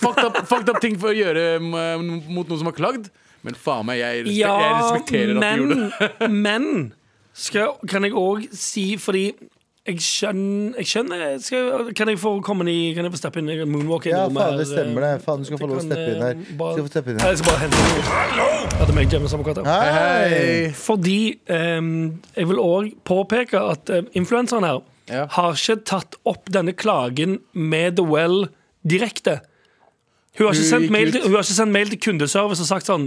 Speaker 2: fucked up, fucked up ting for å gjøre mm, mot noen som har klagd. Men faen meg, jeg, respek jeg
Speaker 3: Ja,
Speaker 2: respekterer at de gjorde det.
Speaker 3: men, men skal, kan jeg òg si, fordi jeg skjønner, jeg skjønner skal, Kan jeg få komme inn i Kan jeg få steppe inn i moonwalk? inn i
Speaker 4: Ja,
Speaker 3: rommet
Speaker 4: faen,
Speaker 3: her,
Speaker 4: det stemmer det.
Speaker 3: eh,
Speaker 4: Faen, du skal få lov å
Speaker 3: kan,
Speaker 4: steppe inn her.
Speaker 3: eh,
Speaker 4: Du
Speaker 3: bare-
Speaker 4: skal få steppe inn
Speaker 3: Nei,
Speaker 4: her.
Speaker 3: Jeg skal bare hente noe. Ja, det er meg, James Amokato.
Speaker 4: Hei!
Speaker 2: Hei.
Speaker 3: Fordi ehm, jeg vil òg påpeke at eh, influenseren her
Speaker 2: Ja.
Speaker 3: har ikke tatt opp denne klagen med The Well direkte. Hun har,
Speaker 2: Hun
Speaker 3: ikke sendt
Speaker 2: gikk ut.
Speaker 3: mail til, hun har ikke sendt mail til kundeservice og sagt sånn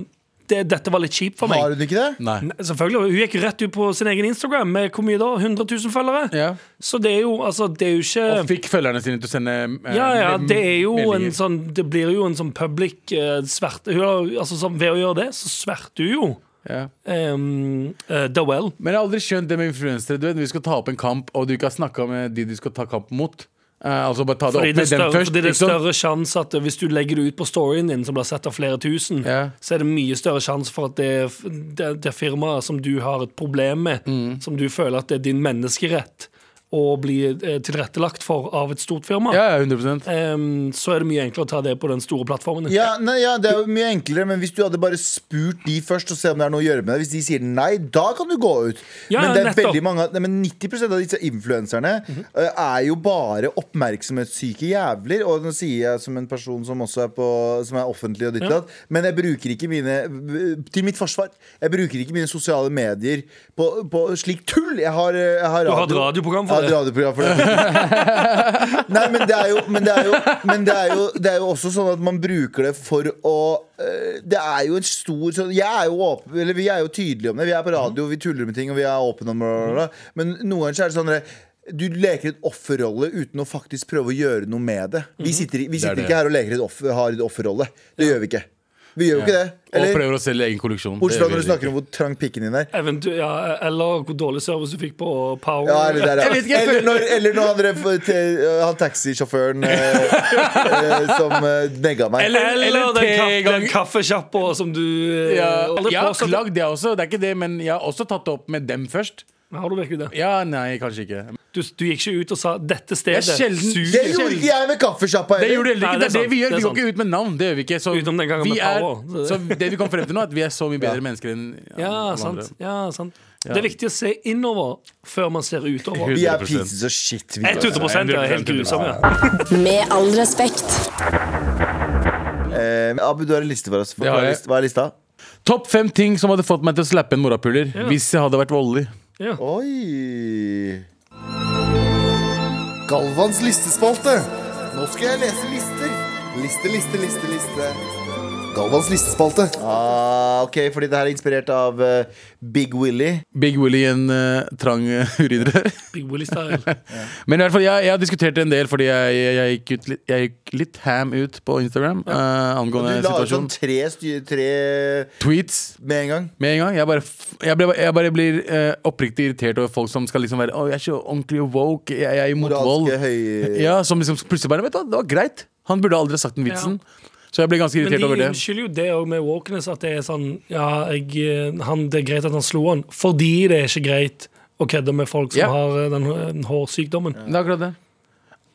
Speaker 3: det, Dette var litt kjipt for
Speaker 4: Har
Speaker 3: meg.
Speaker 4: hun ikke det?
Speaker 2: Nei.
Speaker 3: Nei, Selvfølgelig, Hun gikk rett ut på sin egen Instagram med hvor mye da? 100 000 følgere?
Speaker 2: Ja.
Speaker 3: Så det er jo altså, det er jo ikke
Speaker 2: Og fikk følgerne sine til å sende eh,
Speaker 3: ja, ja,
Speaker 2: me-
Speaker 3: det er jo en
Speaker 2: meldinger.
Speaker 3: sånn Det blir jo en sånn public eh, sverte hun har, altså, sånn, Ved å gjøre det, så sverter hun jo
Speaker 2: ja.
Speaker 3: um, Dowell.
Speaker 2: Men jeg har aldri skjønt det med influensere. Du vet, Når du skal ta opp en kamp, og du ikke har snakka med de du skal ta kamp mot. Eh, altså bare ta det
Speaker 3: Fordi
Speaker 2: opp med
Speaker 3: det, er større,
Speaker 2: dem først. liksom.
Speaker 3: fordi det er
Speaker 2: ikke sant?
Speaker 3: større sjanse at hvis du legger det ut på storyen din, som blir sett av flere tusen,
Speaker 2: Ja.
Speaker 3: så er det mye større sjanse for at det, det, det firmaet som du har et problem med,
Speaker 2: Mm.
Speaker 3: som du føler at det er din menneskerett å bli eh, tilrettelagt for av et stort firma,
Speaker 2: Ja, ja, 100
Speaker 3: em, så er det mye enklere å ta det på den store plattformen.
Speaker 4: Ja, nei, ja, det er jo mye enklere, men hvis du hadde bare spurt de først og se om det er noe å gjøre med det, hvis de sier nei, da kan du gå ut.
Speaker 3: Ja,
Speaker 4: men det er
Speaker 3: nettopp. Mhm.
Speaker 4: veldig mange nei, Men 90 av disse influenserne eh, er jo bare oppmerksomhetssyke jævler. Og nå sier jeg som en person som også er, på, som er offentlig og ditt og datt, men jeg bruker ikke mine eh, Til mitt forsvar, jeg bruker ikke mine sosiale medier på, på slik tull. Jeg har, eh, jeg har
Speaker 3: Du har et radioprogram for
Speaker 4: Jeg har et
Speaker 3: det.
Speaker 4: radioprogram for det. Nei, men det er jo Men det er jo, men det er jo, det er jo også sånn at man bruker det for å eh, Det er jo en stor sånn Jeg er jo åpen Eller vi er jo tydelige om det. Vi er på
Speaker 2: Mhm.
Speaker 4: radio, vi tuller med ting, og vi er åpne om det. Men noen ganger så er det sånn at du leker et offerrolle uten å faktisk prøve å gjøre noe med det. Vi sitter, i- vi sitter
Speaker 2: Mhm. det.
Speaker 4: ikke her og leker et offer, har et offerrolle. Det gjør vi ikke. Vi gjør jo ikke det.
Speaker 2: Og
Speaker 4: Eller
Speaker 2: prøver å selge egen kolleksjon. Det
Speaker 4: bortsett fra når du
Speaker 2: er veldig-
Speaker 4: snakker om hvor trang pikken din er.
Speaker 3: Eventu ja, eller hvor dårlig service du fikk på Power.
Speaker 4: Ja, eller, der, ja.
Speaker 2: Jeg vet ikke, jeg
Speaker 4: eller,
Speaker 2: føler-
Speaker 4: når, eller når han, drev- til- øh, han taxisjåføren eh, eh, som eh, negga meg.
Speaker 3: Eller,
Speaker 2: Eller- eller
Speaker 3: den, kaff,
Speaker 2: te gang-
Speaker 3: den kaffekjappa som du eh,
Speaker 2: ja,
Speaker 3: aldri
Speaker 2: Jeg har
Speaker 3: påstår-
Speaker 2: klagd, jeg også. Det er ikke det, men jeg har også tatt det opp med dem først.
Speaker 3: Har du virkelig det?
Speaker 2: Ja, nei, kanskje ikke.
Speaker 3: Du, du gikk ikke ut og sa 'dette
Speaker 2: Det
Speaker 3: stedet
Speaker 2: er sjelden
Speaker 4: Det gjorde ikke jeg med kaffesjappa
Speaker 2: Det gjorde
Speaker 4: heller!
Speaker 2: heller ikke.
Speaker 3: Nei,
Speaker 2: Det
Speaker 3: det
Speaker 2: er
Speaker 3: er
Speaker 2: det vi gjør.
Speaker 3: sant, det
Speaker 2: Vi går
Speaker 3: er
Speaker 2: ikke ut med navn. Det gjør vi ikke. Så,
Speaker 3: Utenom den gangen
Speaker 2: vi
Speaker 3: med
Speaker 2: er,
Speaker 3: Power.
Speaker 2: så det vi kom frem til nå, er at vi er så mye bedre mennesker enn
Speaker 3: Ja,
Speaker 2: alle
Speaker 3: sant.
Speaker 2: andre.
Speaker 3: Ja, sant. Det er viktig å se innover før man ser utover.
Speaker 4: Vi er
Speaker 2: 100%.
Speaker 4: pieces of shit. Vi, altså.
Speaker 3: 100 ja, helt grusom, ja.
Speaker 6: Med all respekt.
Speaker 4: Eh, Abu, du har en liste for oss.
Speaker 2: Det har
Speaker 4: Hva er
Speaker 2: jeg.
Speaker 4: list- hva er lista?
Speaker 2: Topp fem ting som hadde fått meg til å slappe en morapuler hvis jeg hadde vært voldelig.
Speaker 4: Oi! Galvans listespalte. Nå skal jeg lese lister. Liste, liste, liste, liste. Galvans listespalte. Ah, ok, fordi det her er inspirert av eh, Big Willy.
Speaker 2: Big Willy i en eh, trang eh, urinrør.
Speaker 3: Big Willy-style.
Speaker 2: Men i hvert fall, jeg, jeg har diskutert det en del fordi jeg, jeg, jeg, gikk, ut litt, jeg gikk litt ham ut på Instagram eh,
Speaker 4: Du
Speaker 2: angående
Speaker 4: la ut sånn
Speaker 2: situasjonen.
Speaker 4: tre, sty- tre
Speaker 2: Tweets
Speaker 4: med en gang.
Speaker 2: med en gang. Jeg bare, f- jeg ble, jeg bare blir eh, oppriktig irritert over folk som skal liksom være Å, jeg er så ordentlig woke, jeg, jeg er imot vold.
Speaker 4: Moralske høy...
Speaker 2: Ja, som liksom plutselig bare Vet du hva, det var greit. Han burde aldri ha sagt den vitsen. Så jeg ble ganske
Speaker 3: Men
Speaker 2: irritert over
Speaker 3: de
Speaker 2: det.
Speaker 3: unnskylder jo det òg med wokeness, at det er sånn Ja, jeg, eh, han, det er greit at han slo han, fordi det er ikke greit å kødde med folk som
Speaker 2: Ja.
Speaker 3: har eh, den eh, hårsykdommen.
Speaker 2: Det er akkurat det.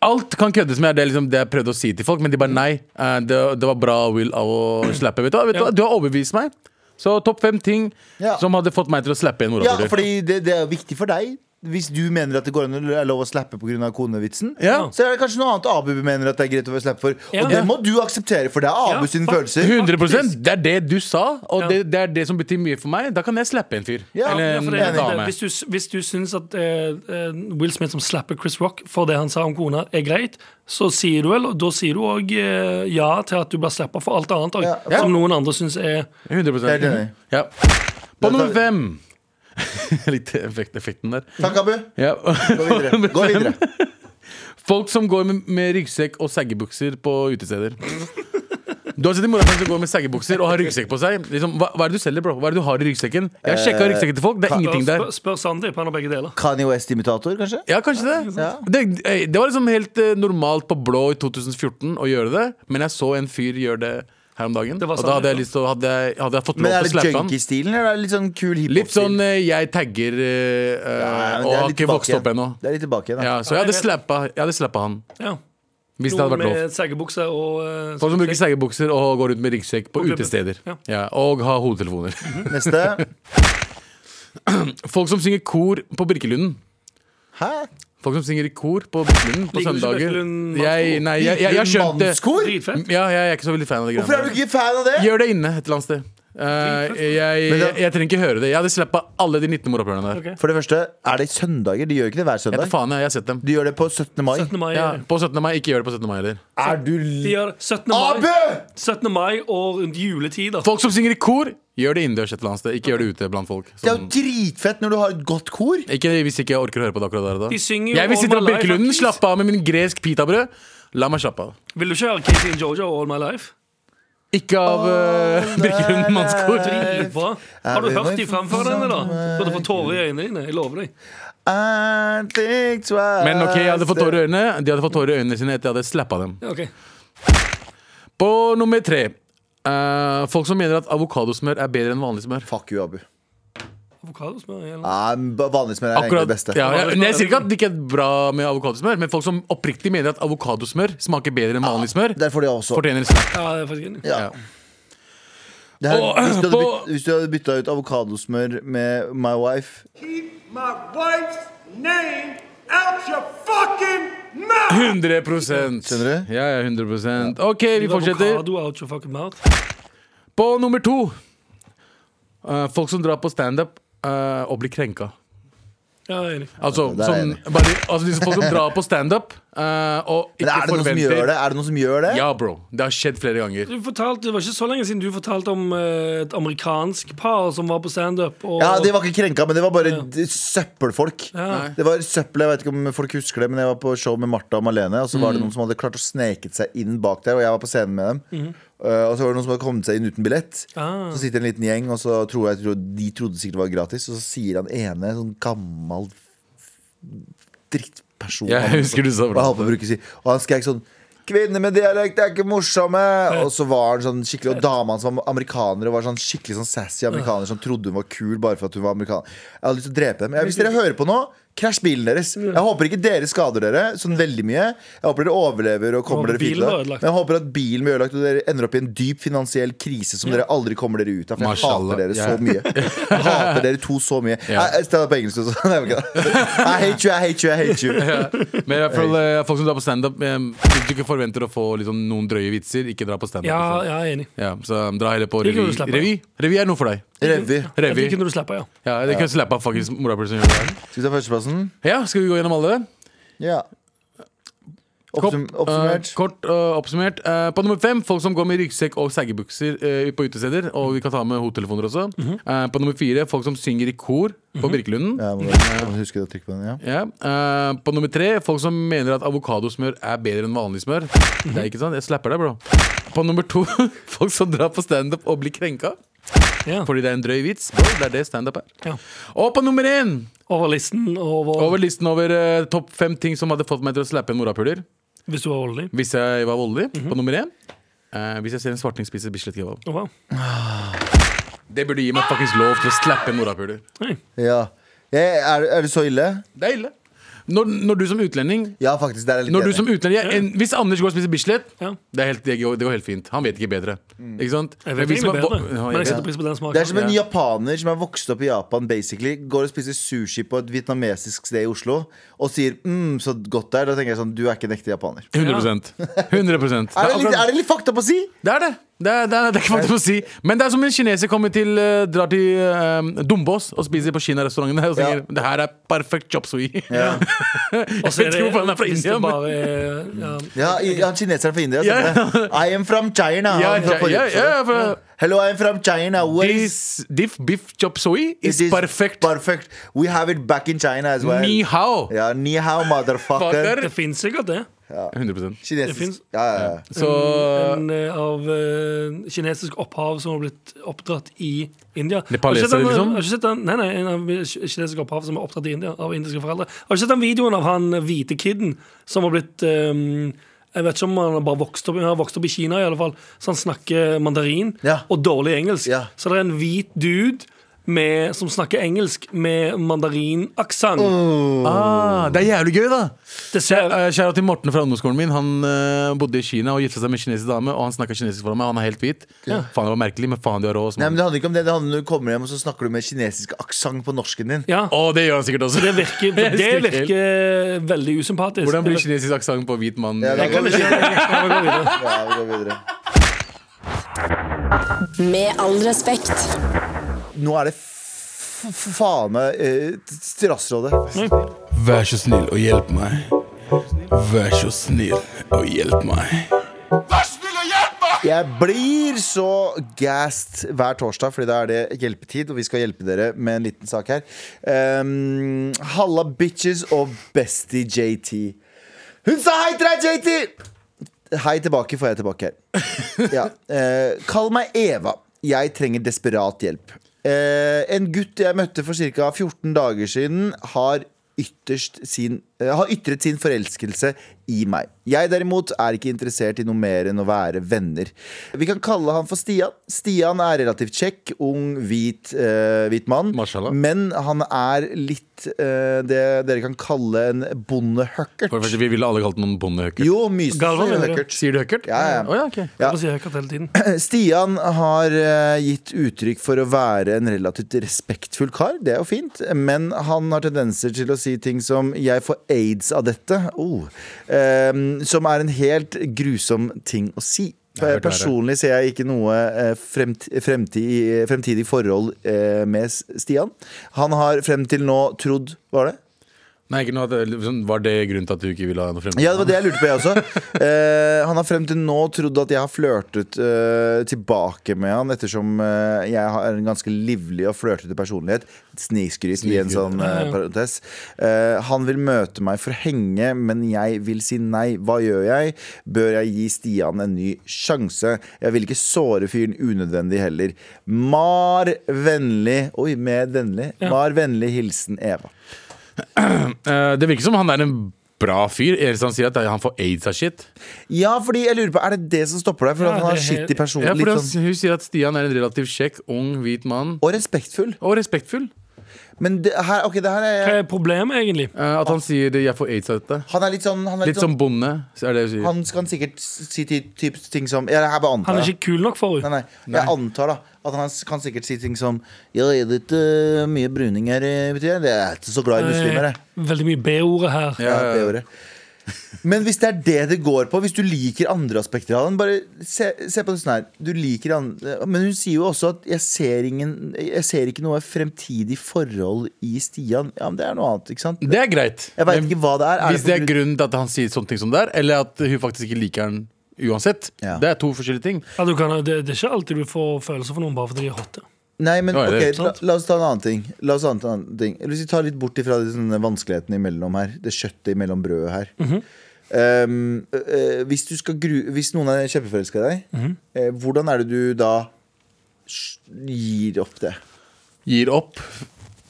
Speaker 2: Alt kan køddes med, er det, liksom det jeg prøvde å si til folk, men de bare nei. eh, Det, det var bra Will av å slappe. Vet du hva, vet du,
Speaker 3: Ja.
Speaker 2: hva? du har overbevist meg. Så topp fem ting
Speaker 4: Ja.
Speaker 2: som hadde fått meg til å slappe en
Speaker 4: Ja,
Speaker 2: morapuler.
Speaker 4: fordi det, det er viktig for deg. Hvis du mener at det går an å er lov å slappe pga. konevitsen,
Speaker 2: Ja.
Speaker 4: så er det kanskje noe annet Abu mener at det er greit å slappe for.
Speaker 3: Ja.
Speaker 4: Og det må du akseptere, for det er Abu
Speaker 3: Ja,
Speaker 4: sine
Speaker 3: fuck.
Speaker 4: følelser.
Speaker 2: 100 Det er det du sa, og
Speaker 3: Ja.
Speaker 2: det, det er det som betyr mye for meg. Da kan jeg slappe en fyr.
Speaker 4: Ja,
Speaker 2: Eller
Speaker 3: Ja,
Speaker 2: en
Speaker 3: for det, er det,
Speaker 2: dame.
Speaker 3: hvis, du, hvis du syns at eh, eh, Will Smith som slapper Chris Rock for det han sa om kona, er greit, så sier du vel, og da sier du òg eh, ja til at du blir slappa for alt annet òg,
Speaker 4: Ja, ja.
Speaker 3: som noen andre syns er
Speaker 2: 100
Speaker 4: Helt enig.
Speaker 2: ja. På
Speaker 4: Da tar
Speaker 2: nummer
Speaker 4: vi-
Speaker 2: fem Jeg likte effekt, effekten der.
Speaker 4: Takk, Abu.
Speaker 2: Ja.
Speaker 4: Gå videre. Gå videre.
Speaker 2: Folk som går med, med ryggsekk og saggebukser på utesteder. Du har sett en morapulere som går med saggebukser og har ryggsekk på seg. Liksom, hva, hva er det du selger, bro? Hva er det du har i ryggsekken? Jeg
Speaker 3: Eh,
Speaker 2: sjekka ryggsekken til folk, det er ingenting der.
Speaker 3: Spør, spør Sandeep, han har begge deler.
Speaker 4: Kanye West-imitator, kanskje?
Speaker 2: Ja, kanskje det.
Speaker 4: Ja.
Speaker 2: Det, eh, det var liksom helt eh, normalt på blå i 2014 å gjøre det, men jeg så en fyr gjøre det her om dagen.
Speaker 3: Det var
Speaker 2: Og da
Speaker 3: sant, ja.
Speaker 2: hadde jeg, lyst til, å- hadde jeg, hadde jeg fått
Speaker 4: Men
Speaker 2: lov
Speaker 4: er
Speaker 2: til å
Speaker 4: det
Speaker 2: slappe han.
Speaker 4: junkie-stilen, eller er det litt sånn kul hiphop-stil?
Speaker 2: Litt sånn eh, jeg tagger eh, eh, og
Speaker 4: Nei, men det er
Speaker 2: har
Speaker 4: litt
Speaker 2: ikke
Speaker 4: tilbake
Speaker 2: vokst opp
Speaker 4: igjen.
Speaker 2: ennå.
Speaker 4: Det er litt tilbake igjen, da.
Speaker 2: Ja, så jeg hadde slappa jeg hadde slappa han,
Speaker 3: Ja.
Speaker 2: hvis det hadde vært lov.
Speaker 3: Med seggebukse og eh,
Speaker 2: Folk som bruker seggebukser og går rundt med ryggsekk på
Speaker 3: Og klubber.
Speaker 2: utesteder.
Speaker 3: Ja.
Speaker 2: Ja, og har hodetelefoner.
Speaker 4: Neste.
Speaker 2: Folk som synger kor på Birkelunden.
Speaker 4: Hæ?
Speaker 2: Folk som synger i kor på Birkelunden på
Speaker 3: Liker du ikke
Speaker 2: søndager.
Speaker 3: Birkelund
Speaker 2: Jeg, nei, jeg, jeg, jeg har skjønt det.
Speaker 4: Mannskor?
Speaker 3: Dritfett.
Speaker 2: Ja, jeg er ikke så veldig fan av det
Speaker 4: Hvorfor er
Speaker 2: greiene.
Speaker 4: du ikke fan av det?
Speaker 2: der. Gjør det inne et eller annet sted. Eh, jeg,
Speaker 4: Men
Speaker 2: jeg,
Speaker 4: det-
Speaker 2: jeg trenger ikke høre det. Jeg hadde slappa alle de 19 morapulerne der.
Speaker 4: For det første, er det søndager? De gjør ikke det hver
Speaker 2: Jeg vet
Speaker 4: søndag.
Speaker 2: faen, jeg, jeg har sett dem.
Speaker 4: De gjør det på 17. mai.
Speaker 3: 17. mai. eh,
Speaker 2: Ja, på 17. mai. Ikke gjør det på 17. mai heller.
Speaker 4: Er du
Speaker 3: De
Speaker 4: l...
Speaker 3: gjør det 17. mai,
Speaker 4: Abu!
Speaker 3: 17. mai og rundt juletid. da.
Speaker 2: Folk som synger i kor, gjør det innendørs et eller annet sted. Ikke gjør det ute blant folk.
Speaker 4: Det er jo
Speaker 2: Sånn.
Speaker 4: dritfett når du har et godt kor.
Speaker 2: Ikke hvis ikke jeg orker å høre på det akkurat der og da.
Speaker 3: De synger jo
Speaker 2: Jeg vil sitte på
Speaker 3: All My Life,
Speaker 2: Birkelunden,
Speaker 3: faktisk.
Speaker 2: slappe av med min gresk pitabrød. La meg slappe av.
Speaker 3: Vil du ikke høre Katie and Jojo All My Life?
Speaker 2: Ikke av eh, Birkelunden mannskor.
Speaker 3: Dritbra. Har du hørt de framføre denne, da?
Speaker 4: eh,
Speaker 3: Du hadde fått tårer i øynene dine. Jeg lover deg.
Speaker 4: I think twice.
Speaker 2: Men ok, jeg hadde fått tårer i øynene De hadde fått tårer i øynene sine etter jeg hadde slappa dem.
Speaker 3: Ja, ok.
Speaker 2: På nummer tre. eh, folk som mener at avokadosmør er bedre enn vanlig smør.
Speaker 4: Fuck you, Abu.
Speaker 3: Avokadosmør? eller?
Speaker 4: Ja, men ba- vanlig smør er egentlig
Speaker 2: Akkurat,
Speaker 4: det beste.
Speaker 2: ja, ja, men jeg sier ikke at det ikke er bra med avokadosmør, men folk som oppriktig mener at avokadosmør smaker bedre enn vanlig smør,
Speaker 4: Der får de også.
Speaker 2: fortjener en slapp.
Speaker 3: Ja, det er faktisk enig.
Speaker 4: Ja.
Speaker 2: Ja.
Speaker 4: Det her,
Speaker 2: Og,
Speaker 4: hvis, du hadde
Speaker 2: på-
Speaker 4: bytt, hvis du hadde bytta ut avokadosmør med My Wife
Speaker 7: Keep my wife's name out your fucking mouth!
Speaker 2: 100
Speaker 4: Skjønner du?
Speaker 2: Ja, ja, 100 OK, vi fortsetter.
Speaker 3: Avokado out your fucking mouth.
Speaker 2: På nummer to eh, Folk som drar på standup eh, og blir krenka.
Speaker 3: Ja, jeg er enig.
Speaker 2: Altså,
Speaker 4: Ja, der er jeg
Speaker 2: som, bare, altså disse folk som drar på standup uh, og ikke
Speaker 4: Men er det noen som
Speaker 2: forventer
Speaker 4: gjør det? Er det noen som gjør det?
Speaker 2: Ja, bro. Det har skjedd flere ganger.
Speaker 3: Du fortalte, det var ikke så lenge siden du fortalte om eh, et amerikansk par som var på standup. og-
Speaker 4: Ja, De var ikke krenka, men det var bare d- søppelfolk.
Speaker 3: Ja.
Speaker 4: Det var søppel, Jeg vet ikke om folk husker det, men jeg var på show med Martha og Malene. Og så var det
Speaker 3: Mm.
Speaker 4: noen som hadde klart å sneket seg inn bak der, og jeg var på scenen med dem. Uh, og så var det noen som hadde kommet seg inn uten billett.
Speaker 3: Mm. Ah.
Speaker 4: Så sitter en liten gjeng, og så tror jeg, tror, de trodde sikkert det var gratis. Og så sier han ene, sånn gammel f- drittperson
Speaker 2: Jeg
Speaker 4: han-
Speaker 2: husker du sa
Speaker 4: og jeg
Speaker 2: bra.
Speaker 4: holdt på å bruke si- Og han skrek sånn Kvinner med dialekt er ikke morsomme! Og så var han sånn skikkelig Og dama hans var amerikaner og var sånn skikkelig sånn sassy amerikaner som trodde hun var kul bare for at hun var amerikaner. Jeg hadde lyst til å drepe dem. Ja, hvis dere hører på nå, krasj bilen deres. Jeg håper ikke dere skader dere sånn veldig mye. Jeg håper dere overlever og
Speaker 3: Og
Speaker 4: kommer dere fint
Speaker 3: bilen
Speaker 4: ut.
Speaker 3: var
Speaker 4: av det.
Speaker 3: ødelagt.
Speaker 4: Men jeg håper at bilen blir ødelagt og dere ender opp i en dyp finansiell krise som dere aldri kommer dere ut av. For jeg
Speaker 2: Mashallah.
Speaker 4: hater dere
Speaker 2: Ja.
Speaker 4: så mye. Jeg hater dere to så mye.
Speaker 2: Ja.
Speaker 4: Jeg, jeg står på engelsk også. Nei, jeg var ikke det. I hate you, I hate you, I hate you.
Speaker 2: Men i hvert fall eh, folk som drar på standup, eh, hvis du ikke forventer å få liksom, noen drøye vitser, ikke dra på standup.
Speaker 3: Ja,
Speaker 2: liksom.
Speaker 3: jeg er enig.
Speaker 2: Ja, så um, dra heller på
Speaker 3: Det kan
Speaker 2: revy.
Speaker 3: du slappe av.
Speaker 2: Revy Revy er noe for deg.
Speaker 4: Revy.
Speaker 3: Jeg
Speaker 2: Revy.
Speaker 3: fikk kunne du slappe, ja.
Speaker 2: Ja, det kan slappe av faktisk morapuler som gjør det.
Speaker 4: Skal vi ta førsteplassen?
Speaker 2: Ja, skal vi gå gjennom alle?
Speaker 4: Ja. Oppsum
Speaker 2: Kopp,
Speaker 4: oppsummert.
Speaker 2: eh, kort eh, oppsummert. Eh, på nummer fem folk som går med ryggsekk og saggebukser eh, på utesteder. Og vi kan ta med hodetelefoner også. Eh, på nummer fire folk som synger i kor på Birkelunden.
Speaker 4: Mhm. Ja, jeg må bare- jeg må huske å trykke på den. Ja.
Speaker 2: Ja. eh, på nummer tre folk som mener at avokadosmør er bedre enn vanlig smør.
Speaker 4: Mhm.
Speaker 2: Det er ikke sant, Jeg slapper deg, bro. På nummer to folk som drar på standup og blir krenka
Speaker 3: ja.
Speaker 2: fordi det er en drøy vits. Bro, det er det standup er.
Speaker 3: Ja.
Speaker 2: Og på nummer én,
Speaker 3: Over listen, over,
Speaker 2: over listen over eh, topp fem ting som hadde fått meg til å slappe en morapuler.
Speaker 3: hvis du var voldelig.
Speaker 2: Hvis jeg var voldelig, på nummer én. Eh, hvis jeg ser en svartning spise Bislett kebab.
Speaker 3: Å, wow.
Speaker 2: Det burde gi meg faktisk lov til å slappe en morapuler.
Speaker 3: Hei.
Speaker 4: Ja. Jeg, er, er det så ille?
Speaker 2: Det er ille. Når, når du som utlending
Speaker 4: Ja, faktisk. Der er jeg litt
Speaker 2: når du
Speaker 4: enig.
Speaker 2: som utlending jeg, en, Hvis Anders går og spiser Bislett,
Speaker 3: Ja.
Speaker 2: det, er helt, det, går, det går helt fint. Han vet ikke bedre.
Speaker 4: Mm.
Speaker 2: Ikke sant?
Speaker 3: Jeg
Speaker 2: Men
Speaker 3: vet
Speaker 2: hvis
Speaker 3: ikke om det er
Speaker 2: man- Ja,
Speaker 3: bedre, men
Speaker 2: jeg
Speaker 3: jeg
Speaker 2: vet.
Speaker 3: setter pris på den
Speaker 4: Det er
Speaker 3: smaken.
Speaker 4: som en japaner som er vokst opp i Japan, basically. Går og spiser sushi på et vietnamesisk sted i Oslo og sier mm, så godt det er. Da tenker jeg sånn, du er ikke en ekte japaner.
Speaker 2: 100 100
Speaker 4: Er det, litt, er det litt fakta på å si?
Speaker 2: Det er det. Det er, det er, det er ikke faktisk å si. Men det er som en kineser kommer til eh, drar til eh, Dombås og spiser på kinarestauranten der og
Speaker 4: Ja.
Speaker 2: sier det her er perfekt chop sui.
Speaker 4: Ja.
Speaker 2: Jeg
Speaker 3: Så er
Speaker 2: vet ikke hvorfor han er fra
Speaker 3: hvis det
Speaker 2: India. Men...
Speaker 3: bare er- ja.
Speaker 4: Ja, i- han kineseren fra India.
Speaker 2: Ja.
Speaker 4: Yeah. I am from China.
Speaker 2: Ja,
Speaker 4: Han er fra
Speaker 2: ja,
Speaker 4: forrige
Speaker 2: ja,
Speaker 4: episode.
Speaker 2: ja, for-
Speaker 4: Hello, I am from China. What is
Speaker 2: This diff beef chop sui is,
Speaker 4: it is
Speaker 2: perfect.
Speaker 4: perfect. We have it back in China as well.
Speaker 2: Ni hao.
Speaker 4: Ja, ni hao, motherfucker.
Speaker 2: Fucker.
Speaker 3: Det fins sikkert det.
Speaker 2: 100
Speaker 4: Kinesisk.
Speaker 3: Det finnes-
Speaker 4: ja, ja, ja.
Speaker 2: Så
Speaker 4: mm.
Speaker 3: En eh, av eh, kinesisk opphav som har blitt oppdratt i India.
Speaker 2: Nepalesere,
Speaker 3: Har du ikke sett den- eh,
Speaker 2: liksom?
Speaker 3: Har du ikke sett den, nei, nei, en av ki- kinesisk opphav som er oppdratt i India av indiske foreldre. Har du ikke sett den videoen av han eh, hvite kiden som har blitt eh, jeg vet ikke om han har bare vokst opp, han har vokst opp i Kina, i alle fall så han snakker mandarin
Speaker 4: Ja.
Speaker 3: og dårlig engelsk.
Speaker 4: Ja.
Speaker 3: Så det er en hvit dude med, som snakker engelsk med mandarinaksent.
Speaker 4: Mm.
Speaker 2: ah, Det er jævlig gøy, da.
Speaker 3: Det ser
Speaker 2: Eh, Kjære til Morten fra ungdomsskolen min. Han eh, bodde i Kina og gifta seg med en kinesisk dame, og han snakker kinesisk for meg. Han er helt hvit. Faen, det var merkelig, men faen, de har råd. altså.
Speaker 4: Nei,
Speaker 2: Å,
Speaker 4: men Det handler ikke om det. Det handler om når du kommer hjem og så snakker du med kinesisk aksent på norsken din.
Speaker 3: ja.
Speaker 2: det gjør han sikkert også.
Speaker 3: Det virker,
Speaker 2: Jeg
Speaker 3: det
Speaker 2: husker ikke helt.
Speaker 3: virker veldig usympatisk.
Speaker 2: Hvordan blir
Speaker 3: Det-
Speaker 2: kinesisk aksent på hvit mann?
Speaker 4: Ja, da går vi videre.
Speaker 3: Ja, vi går videre.
Speaker 4: Ja, vi går videre.
Speaker 6: Med all respekt.
Speaker 4: Nå er det f- f- faen meg eh, Terrasserådet.
Speaker 2: Vær så snill og hjelp meg. Vær så snill og hjelp meg.
Speaker 4: Jeg blir så gassed hver torsdag, Fordi da er det hjelpetid, og vi skal hjelpe dere med en liten sak her. Um, Halla bitches og bestie JT. Hun sa hei til deg, JT! Hei tilbake får jeg tilbake her. Ja. Eh, kall meg Eva. Jeg trenger desperat hjelp. Eh, en gutt jeg møtte for ca. 14 dager siden, har, ytterst sin, eh, har ytret sin forelskelse i meg. Jeg derimot er ikke interessert i noe mer enn å være venner. Vi kan kalle han for Stian. Stian er relativt kjekk, ung, hvit, eh, hvit mann.
Speaker 2: Mashallah.
Speaker 4: Men han er litt eh, det dere kan kalle en bondehøkkert.
Speaker 2: For det første, Vi ville alle kalt noen bondehøkker.
Speaker 4: Jo, mysen.
Speaker 3: Galvan mener du?
Speaker 4: Høkkert.
Speaker 2: Sier du høkkert?
Speaker 4: Ja, ja.
Speaker 2: Å, ja, ok.
Speaker 4: Ja.
Speaker 3: Hvorfor sier jeg akkurat hele tiden?
Speaker 4: Eh, Stian har eh, gitt uttrykk for å være en relativt respektfull kar. Det er jo fint. Men han har tendenser til å si ting som 'jeg får aids av dette', oh. Em, som er en helt grusom ting å si.
Speaker 2: har hørt det verre.
Speaker 4: Personlig ser jeg ikke noe eh, fremt- fremtid, fremtidig forhold eh, med S- Stian. Han har frem til nå trodd Var det?
Speaker 2: Nei, ikke noe, at det- liksom, Var det grunnen til at du ikke ville ha noe fremmed?
Speaker 4: Ja, det var det jeg lurte på, jeg også. Eh, han har frem til nå trodd at jeg har flørtet eh, tilbake med han, ettersom eh, jeg har en ganske livlig og flørtete personlighet. Snikskryt i en sånn eh, parentes. Eh, han vil møte meg for å henge, men jeg vil si nei. Hva gjør jeg? Bør jeg gi Stian en ny sjanse? Jeg vil ikke såre fyren unødvendig heller. Mar vennlig Oi, med vennlig. Mar vennlig hilsen Eva.
Speaker 2: Eh, det virker som han er en bra fyr. Eneste han sier, er at han får aids av shit.
Speaker 4: Ja, fordi jeg lurer på, er det det som stopper deg? For
Speaker 3: Ja,
Speaker 4: at han har
Speaker 3: det er helt-
Speaker 4: skitt i personen.
Speaker 2: Ja, for
Speaker 4: litt
Speaker 2: han,
Speaker 4: sånn,
Speaker 2: Hun sier at Stian er en relativt kjekk, ung, hvit mann.
Speaker 4: og respektfull.
Speaker 2: Og respektfull.
Speaker 4: Men det her, ok, det her er
Speaker 3: Hva er problemet, egentlig?
Speaker 2: Eh, at han sier 'jeg får aids av dette'.
Speaker 4: Han er litt sånn, han er litt
Speaker 2: Litt som
Speaker 4: sånn
Speaker 2: bonde, så er det hun sier.
Speaker 4: Han kan sikkert si ti- typ, ting som ja, det her bare antar
Speaker 3: Han er
Speaker 4: jeg.
Speaker 3: ikke kul nok for
Speaker 4: Nei,
Speaker 3: henne.
Speaker 4: nei. Jeg antar da at han kan sikkert si ting som Ja, er det ikke øh, mye bruning her? øh, vet du? Jeg er ikke så glad i muslimer, jeg.
Speaker 3: Eh, Veldig mye B-ordet her.
Speaker 2: Ja,
Speaker 4: Ja,
Speaker 2: ja, ja.
Speaker 4: det ordet. Men hvis det er det det går på, hvis du liker andre aspekter av den Bare se, se på det sånn her. Du liker andre, men hun sier jo også at jeg ser, ingen, 'jeg ser ikke noe fremtidig forhold i Stian'. Ja, men det er noe annet, ikke sant?
Speaker 2: Det er greit.
Speaker 4: Jeg vet ikke hva det er. Er
Speaker 2: Hvis det er
Speaker 4: på
Speaker 2: grunnen
Speaker 4: grunn-
Speaker 2: til at han sier sånne ting som det er, eller at hun faktisk ikke liker han uansett.
Speaker 4: Ja.
Speaker 2: Det er to forskjellige ting.
Speaker 3: Ja, du kan, det, det er ikke alltid du får følelser for noen bare fordi de er hotte.
Speaker 4: Nei, men
Speaker 2: Ja, det er
Speaker 4: ok, la,
Speaker 3: sant.
Speaker 4: la oss ta en annen ting. La oss ta en annen ting Hvis vi tar litt bort ifra de sånne vanskelighetene imellom her, det kjøttet imellom brødet her.
Speaker 2: Mhm.
Speaker 4: um, eh, hvis, du skal gru, hvis noen er kjempeforelska i deg,
Speaker 2: Mhm.
Speaker 4: eh, hvordan er det du da s- gir opp det?
Speaker 2: Gir opp.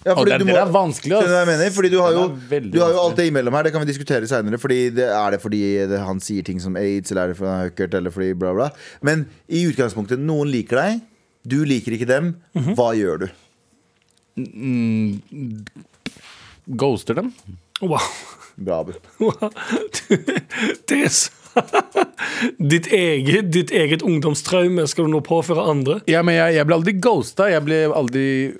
Speaker 4: Ja,
Speaker 2: Å, den-
Speaker 4: du
Speaker 2: den er vanskelig, ass.
Speaker 4: Skjønner du hva jeg mener? Fordi du har,
Speaker 2: Den
Speaker 4: jo,
Speaker 2: er veldig
Speaker 4: du har jo
Speaker 2: vanskelig.
Speaker 4: alt det imellom her, det kan vi diskutere seinere. Er det fordi det, han sier ting som aids, eller er det fordi han er høkkert, eller fordi bla, bla. Men i utgangspunktet, noen liker deg, du liker ikke dem.
Speaker 2: Mhm.
Speaker 4: Hva gjør du?
Speaker 2: Ghoster dem.
Speaker 3: Wow.
Speaker 4: Bra, Abu.
Speaker 3: Wow. Det er så ditt eget, ditt eget ungdomstraume skal du nå påføre andre.
Speaker 2: Ja, men jeg, jeg ble aldri ghosta. Jeg ble aldri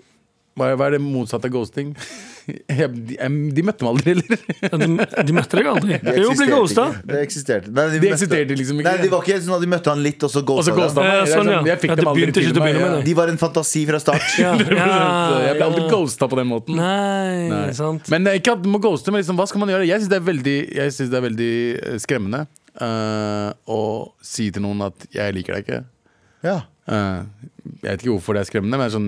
Speaker 2: Hva hva er det motsatte av ghosting? Jeg, de, jeg- de møtte meg aldri, eller?
Speaker 3: Ja, De, de møtte deg aldri. Det er jo å bli
Speaker 4: eksisterte
Speaker 3: ghosta.
Speaker 4: ikke. Det eksisterte. Nei, de,
Speaker 2: De
Speaker 4: møtte-
Speaker 2: eksisterte liksom ikke.
Speaker 4: Nei, de var ikke sånn at de møtte han litt, og så
Speaker 2: Og så
Speaker 4: ghosta
Speaker 2: ghosta
Speaker 4: dem.
Speaker 2: meg. Det
Speaker 3: Ja,
Speaker 2: er
Speaker 3: sånn,
Speaker 2: sånn,
Speaker 3: ja.
Speaker 2: Jeg fikk
Speaker 3: Ja,
Speaker 2: dem
Speaker 3: det
Speaker 2: aldri
Speaker 3: begynte ikke
Speaker 2: til
Speaker 3: til å
Speaker 2: meg.
Speaker 3: begynne
Speaker 2: ja.
Speaker 3: med
Speaker 4: De var en fantasi fra start.
Speaker 3: Ja,
Speaker 2: Så jeg ble aldri
Speaker 3: ja.
Speaker 2: ghosta på den måten.
Speaker 3: Nei,
Speaker 2: Nei.
Speaker 3: sant.
Speaker 2: Men eh, ikke at du må ghoste, men liksom, hva skal man gjøre? Jeg syns det er veldig, jeg synes det er veldig eh, skremmende eh, å si til noen at 'jeg liker deg ikke'.
Speaker 4: Ja.
Speaker 2: Eh, jeg vet ikke hvorfor det er skremmende, men sånn,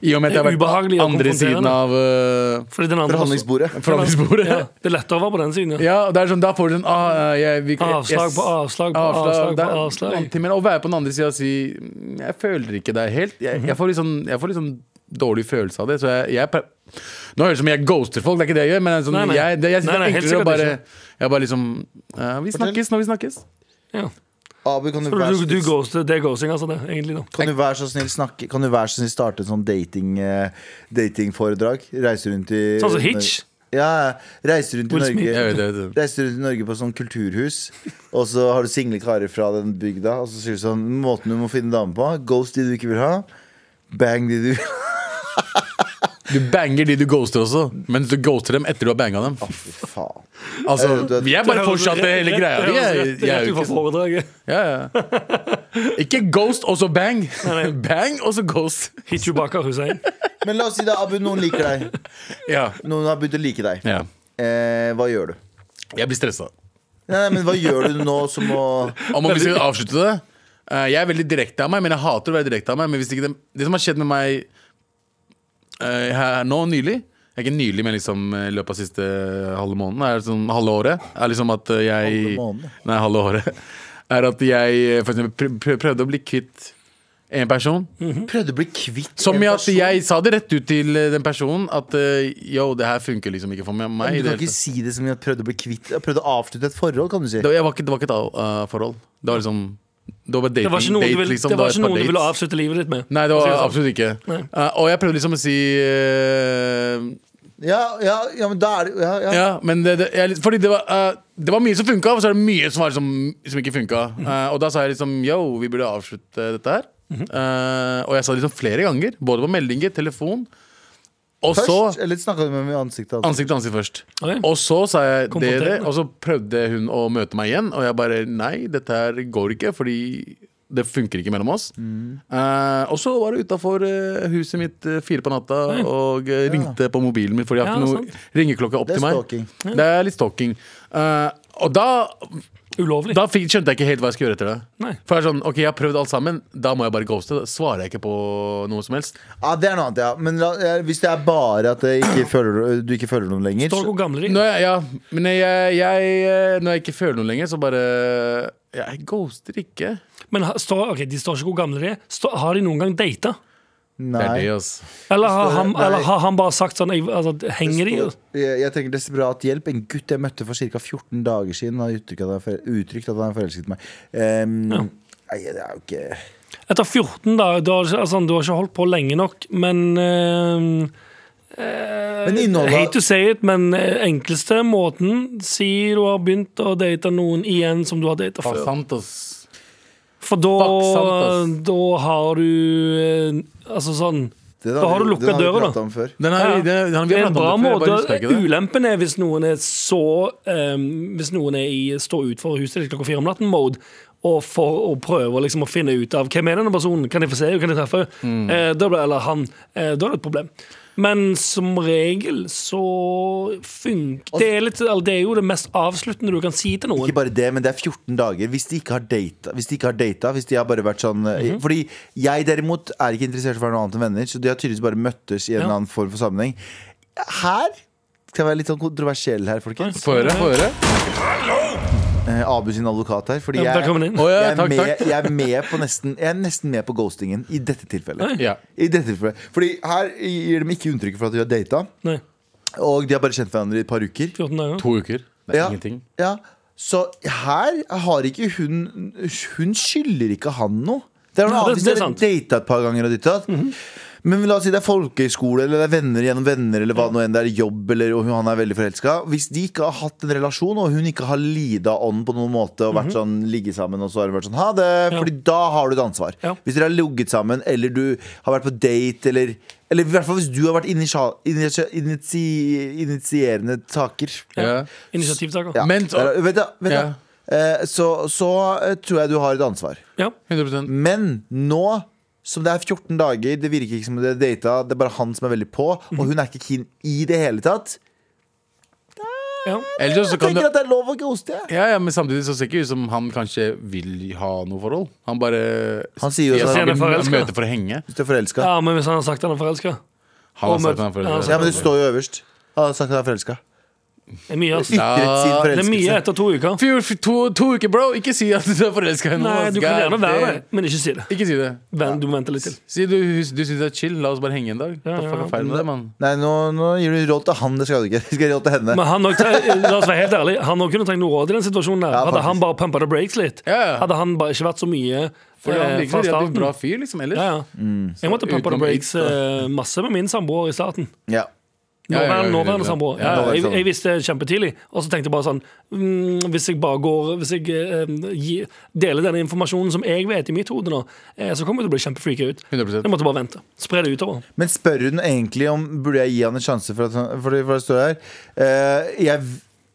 Speaker 2: i og med at jeg
Speaker 3: Det er
Speaker 2: har vært
Speaker 3: ubehagelig
Speaker 2: på
Speaker 3: og
Speaker 2: andre siden av eh,
Speaker 3: Fordi den andre
Speaker 4: Forhandlingsbordet.
Speaker 2: forhandlingsbordet
Speaker 3: Ja, det er lettere å være på den siden, ja.
Speaker 2: Ja, det er sånn, Da får du sånn ah, eh, jeg, vi,
Speaker 3: Avslag på avslag på avslag
Speaker 2: det
Speaker 3: på
Speaker 2: er
Speaker 3: avslag.
Speaker 2: noen ting, Men å være på den andre sida og si «Mm, 'jeg føler ikke deg helt', jeg, jeg får litt sånn, jeg får litt sånn dårlig følelse av det. Så jeg, jeg pre- Nå høres det ut som jeg ghoster folk, det er ikke det jeg gjør, men sånn,
Speaker 3: Nei, nei.
Speaker 2: jeg, det, jeg synes
Speaker 3: Nei,
Speaker 2: det
Speaker 3: nei,
Speaker 2: er
Speaker 3: helt
Speaker 2: enklere å bare,
Speaker 3: sikkert
Speaker 2: jeg bare liksom eh, Vi
Speaker 4: Fortell.
Speaker 2: snakkes når vi snakkes.
Speaker 3: ja.
Speaker 4: Abu, kan du,
Speaker 3: Du,
Speaker 4: være
Speaker 3: du,
Speaker 4: så
Speaker 3: du
Speaker 4: snill-
Speaker 3: ghoster, det er ghosting, altså, det, egentlig. da
Speaker 4: kan du være så snill snakke Kan du være så snill starte en sånn dating eh, datingforedrag? Reise rundt i
Speaker 3: Sånn som Hitch.
Speaker 4: Ja, reise rundt i
Speaker 3: Will Smith.
Speaker 4: Norge.
Speaker 2: Jeg vet, jeg vet.
Speaker 4: Reiser rundt i Norge på sånn kulturhus, og så har du single karer fra den bygda, og så sier du sånn Måten du må finne dame på, ghost de du ikke vil ha, bang de du
Speaker 2: Du banger de du ghoster også, men du ghoster dem etter du har banga dem.
Speaker 4: Fy faen.
Speaker 2: Altså, vi er bare fortsatt det hele greia. Vi er,
Speaker 3: Rett- rett-
Speaker 2: jeg er
Speaker 3: rett
Speaker 2: jo
Speaker 3: ut fra
Speaker 2: ikke
Speaker 3: foredraget.
Speaker 2: ja, ja. Ikke ghost og så bang.
Speaker 3: nei.
Speaker 2: Bang og så ghost.
Speaker 3: Hitchu Bakar Hussein.
Speaker 4: Men la oss si da, Abu, noen liker deg.
Speaker 2: Ja.
Speaker 4: Noen har begynt å like deg.
Speaker 2: ja.
Speaker 4: Eh, hva gjør du?
Speaker 2: Jeg blir stressa.
Speaker 4: Nei, nei, men hva gjør du nå som må
Speaker 2: Om vi skal avslutte det eh, Jeg er veldig direkte av meg, men jeg hater å være direkte av meg. Men hvis ikke det, det som har skjedd med meg eh, her nå nylig eh, Ikke nylig, men liksom eh, i løpet av siste halve måneden er liksom, halve året. Er liksom at eh, jeg
Speaker 4: Halve måneden?
Speaker 2: Nei, halve året. Er at jeg eh, for eksempel pr- pr- prøvde å bli kvitt en person.
Speaker 4: Prøvde å bli kvitt
Speaker 2: Som
Speaker 4: Mm. en
Speaker 2: i at
Speaker 4: person.
Speaker 2: jeg sa det rett ut til eh, den personen. At eh, yo, det her funker liksom ikke for meg. i
Speaker 4: Men Du
Speaker 2: det
Speaker 4: kan
Speaker 2: hele
Speaker 4: ikke
Speaker 2: tatt.
Speaker 4: si det som i at prøvde å bli kvitt Prøvde å avslutte et forhold, kan du si.
Speaker 2: Det var, jeg var ikke, det var ikke et av- eh, forhold. Det var liksom Det var bare dating.
Speaker 3: Det var ikke noen
Speaker 2: date,
Speaker 3: du ville,
Speaker 2: liksom.
Speaker 3: det var
Speaker 2: et
Speaker 3: ikke
Speaker 2: par
Speaker 3: noen du ville
Speaker 2: dates.
Speaker 3: avslutte livet ditt med.
Speaker 2: Nei, det
Speaker 3: For å
Speaker 2: var
Speaker 3: si det sånn.
Speaker 2: absolutt ikke.
Speaker 3: Nei.
Speaker 2: Eh, og jeg prøvde liksom å si eh,
Speaker 4: Ja, ja, ja, men da er det ja, ja.
Speaker 2: Ja, men det, det, jeg, Fordi det var, eh, det var mye som funka, og så er det mye som, var, som, som ikke funka.
Speaker 3: Mhm.
Speaker 2: Eh, og da sa jeg liksom yo, vi burde avslutte dette her. Eh, og jeg sa det liksom flere ganger. Både på meldinger, telefon. Og
Speaker 4: Først? eh,
Speaker 2: så
Speaker 4: eller snakka du med meg i ansiktet? Altså?
Speaker 2: Ansikt til ansikt først.
Speaker 3: Oi.
Speaker 2: Og så sa jeg det,
Speaker 3: Konfronterende.
Speaker 2: det, og så prøvde hun å møte meg igjen. Og jeg bare nei, dette her går ikke, fordi det funker ikke mellom oss.
Speaker 3: Mm.
Speaker 2: Eh, og så var det utafor huset mitt eh, fire på natta og eh, ringte på mobilen min. Fordi jeg har
Speaker 3: Ja,
Speaker 2: ikke
Speaker 3: sant.
Speaker 2: noe ringeklokke opp
Speaker 4: Det er
Speaker 2: til meg.
Speaker 4: stalking.
Speaker 2: Det er litt stalking. Eh, og da,
Speaker 3: Ulovlig.
Speaker 2: da fikk, skjønte jeg ikke helt hva jeg skulle gjøre etter det.
Speaker 3: Nei.
Speaker 2: For jeg er sånn, ok, jeg har prøvd alt sammen, da må jeg bare ghoste. Da svarer jeg ikke på noe som helst.
Speaker 4: Ja, det er noe annet, ja. Men la, eh, hvis det er bare at jeg ikke føler, du ikke føler noen lenger
Speaker 3: Står
Speaker 4: så,
Speaker 3: hvor gamle de er.
Speaker 2: Når jeg, ja, men jeg, jeg, når jeg ikke føler noe lenger, så bare Jeg ghoster ikke.
Speaker 3: Men ha- står, ok, de står ikke hvor gamle de er. Står- har de noen gang data?
Speaker 2: Det er
Speaker 4: Nei.
Speaker 2: det, altså.
Speaker 3: Eller har han,
Speaker 4: Nei.
Speaker 3: eller har han bare sagt sånn jeg, altså, Henger de?
Speaker 4: Jeg, jeg trenger desperat hjelp. En gutt jeg møtte for ca. 14 dager siden, har uttrykt at han er forel- uttrykt at han er forelsket i meg. Ehm, Nei, det er jo ikke
Speaker 3: Etter 14 dager du, har ikke- altså, du har ikke holdt på lenge nok, men ehm, eh,
Speaker 4: Men innholdet-
Speaker 3: Hate to say it, men eh, enkleste måten Si du har begynt å date noen igjen som du har data
Speaker 2: Faen,
Speaker 3: før.
Speaker 2: sant, ass.
Speaker 3: For da,
Speaker 2: Fuck, sant, ass.
Speaker 3: da har du eh, Altså sånn
Speaker 4: Den
Speaker 3: Da har du lukket
Speaker 4: den har vi
Speaker 3: døra, da.
Speaker 4: pratet om før.
Speaker 2: Den har,
Speaker 3: Ja, ja.
Speaker 2: den, den, har- vi
Speaker 3: Det er
Speaker 2: har
Speaker 3: en
Speaker 2: pratet
Speaker 3: bra
Speaker 2: om det før, jeg bare
Speaker 3: måte.
Speaker 2: husker ikke det.
Speaker 3: Ulempen er hvis noen er så ehm, Hvis noen er i stå utenfor huset ditt klokka fire om natten-mode, og, for- og prøver liksom å finne ut av hvem er denne personen, kan jeg få se henne, kan jeg treffe
Speaker 2: Mm.
Speaker 3: henne, eh, da blir- eller han, eh, da er det et problem. Men som regel så funker det er, litt, eller det er jo det mest avsluttende du kan si til noen.
Speaker 4: Ikke bare det, men det er 14 dager hvis de ikke har data. Hvis de ikke har data, hvis de har bare vært sånn
Speaker 3: Mhm.
Speaker 4: Fordi jeg derimot er ikke interessert i å være noe annet enn venner, så de har tydeligvis bare møttes i en
Speaker 3: Ja.
Speaker 4: eller annen form for sammenheng. Her skal jeg være litt sånn kontroversiell her, folkens.
Speaker 2: Få høre, få høre.
Speaker 4: Eh, Abu sin advokat her. Fordi
Speaker 3: Ja,
Speaker 4: jeg,
Speaker 3: velkommen inn.
Speaker 2: Å ja,
Speaker 4: jeg, er
Speaker 2: takk,
Speaker 4: med,
Speaker 2: takk.
Speaker 4: jeg, er med på nesten, jeg er nesten med på ghostingen i dette tilfellet.
Speaker 2: Ja.
Speaker 4: I dette tilfellet Fordi her gir de ikke uttrykk for at de har data,
Speaker 3: Nei,
Speaker 4: og de har bare kjent hverandre i et par uker.
Speaker 3: 14 dager.
Speaker 2: To uker. Det er
Speaker 4: Ja.
Speaker 2: ingenting.
Speaker 4: Ja, så her har ikke hun Hun skylder ikke han noe. Det er noe
Speaker 3: Ja,
Speaker 4: annet
Speaker 3: det-
Speaker 4: hvis
Speaker 3: det er
Speaker 4: dere
Speaker 3: sant. Mhm.
Speaker 4: data et par ganger og ditt og datt. Men la oss si det er folkehøyskole, eller det er venner gjennom venner, eller hva nå enn det er, jobb, eller og hun- han er veldig forelska. Hvis de ikke har hatt en relasjon, og hun ikke har lida ånden på noen måte, og vært sånn, ligget sammen, og så har hun vært sånn ha det,
Speaker 3: Mhm. Ja.
Speaker 4: fordi da har du et ansvar.
Speaker 3: Ja.
Speaker 4: Hvis dere har ligget sammen, eller du har vært på date, eller eller i hvert fall hvis du har vært initial, initi, initi, initierende taker.
Speaker 2: Ja.
Speaker 3: Initiativtaker.
Speaker 4: Ja.
Speaker 2: Men-
Speaker 4: Der er- vent da, vent da. Eh, Så, så eh, tror jeg du har et ansvar.
Speaker 3: Ja.
Speaker 2: 100
Speaker 4: Men nå som det er 14 dager, det virker ikke som det er data, det er bare han som er veldig på, og hun er ikke keen i det hele tatt.
Speaker 3: ja.
Speaker 2: Ellers så
Speaker 4: Jeg
Speaker 2: kan
Speaker 4: tenker
Speaker 2: det
Speaker 4: at det er lov å ghoste. jeg.
Speaker 2: ja, ja, Men samtidig så ser ikke ut som han kanskje vil ha noe forhold. Han bare
Speaker 4: Han sier jo
Speaker 2: at
Speaker 4: sånn-
Speaker 2: han
Speaker 3: Han er forelsket.
Speaker 2: vil møte for å henge.
Speaker 4: Hvis du er forelska. Ja.
Speaker 3: ja, men hvis han har sagt han er forelska
Speaker 2: Han har
Speaker 3: Og
Speaker 2: sagt
Speaker 3: møte-
Speaker 2: han er
Speaker 3: Ja,
Speaker 2: forelsket.
Speaker 3: så-
Speaker 4: men det står jo øverst. Han har sagt han er forelska.
Speaker 3: Det er mye, ass.
Speaker 2: Ja.
Speaker 4: Ytret
Speaker 2: Det
Speaker 4: sin
Speaker 3: Det er mye
Speaker 4: forelskelse.
Speaker 3: etter to uker.
Speaker 2: Fjor, to, to uker, bro! Ikke si at du er forelska i noen.
Speaker 3: Nei,
Speaker 2: ass.
Speaker 3: du kan
Speaker 2: God
Speaker 3: gjerne være det,
Speaker 2: damn.
Speaker 3: men ikke si det.
Speaker 2: Ikke si det.
Speaker 3: Vent, du må vente litt til.
Speaker 2: Si du, du syns det er chill, la oss bare henge en dag.
Speaker 3: Ja,
Speaker 2: Hva
Speaker 3: ja,
Speaker 2: faen
Speaker 3: ja.
Speaker 2: er feil med det, mann?
Speaker 4: Nei, nå, nå gir du råd til han, det skal du ikke. Du skal gi råd til henne.
Speaker 3: Men han nok, tre- la oss være helt ærlig, han også kunne trengt noe råd i den situasjonen. der
Speaker 4: Ja,
Speaker 3: Hadde
Speaker 4: faktisk.
Speaker 3: han bare pumpa the brakes litt,
Speaker 2: Ja, ja.
Speaker 3: hadde han bare ikke vært så mye
Speaker 2: For han
Speaker 3: eh,
Speaker 2: virker
Speaker 3: fra
Speaker 2: som en jævlig
Speaker 3: starten.
Speaker 2: bra fyr, liksom, ellers.
Speaker 3: Ja, ja. Jeg måtte pumpa the
Speaker 2: utenom
Speaker 3: brakes
Speaker 2: Ibs,
Speaker 3: eh, masse med min samboer i starten.
Speaker 4: Ja.
Speaker 2: Ja, ja, ja,
Speaker 3: Nåværende, nåværende
Speaker 2: ja.
Speaker 3: samboer.
Speaker 2: Ja,
Speaker 3: Ja,
Speaker 4: nåværende
Speaker 3: jeg,
Speaker 4: samboer.
Speaker 3: jeg visste det kjempetidlig, og så tenkte jeg bare sånn mm, Hvis jeg bare går Hvis jeg eh, gi, deler denne informasjonen som jeg vet i mitt hode nå, eh, så kommer jeg til å bli kjempefreaka ut.
Speaker 2: 100%.
Speaker 3: Jeg måtte bare vente. Spre det utover.
Speaker 4: Men spør hun egentlig om Burde jeg gi han en sjanse for, at han, for, det- for det står her eh, jeg,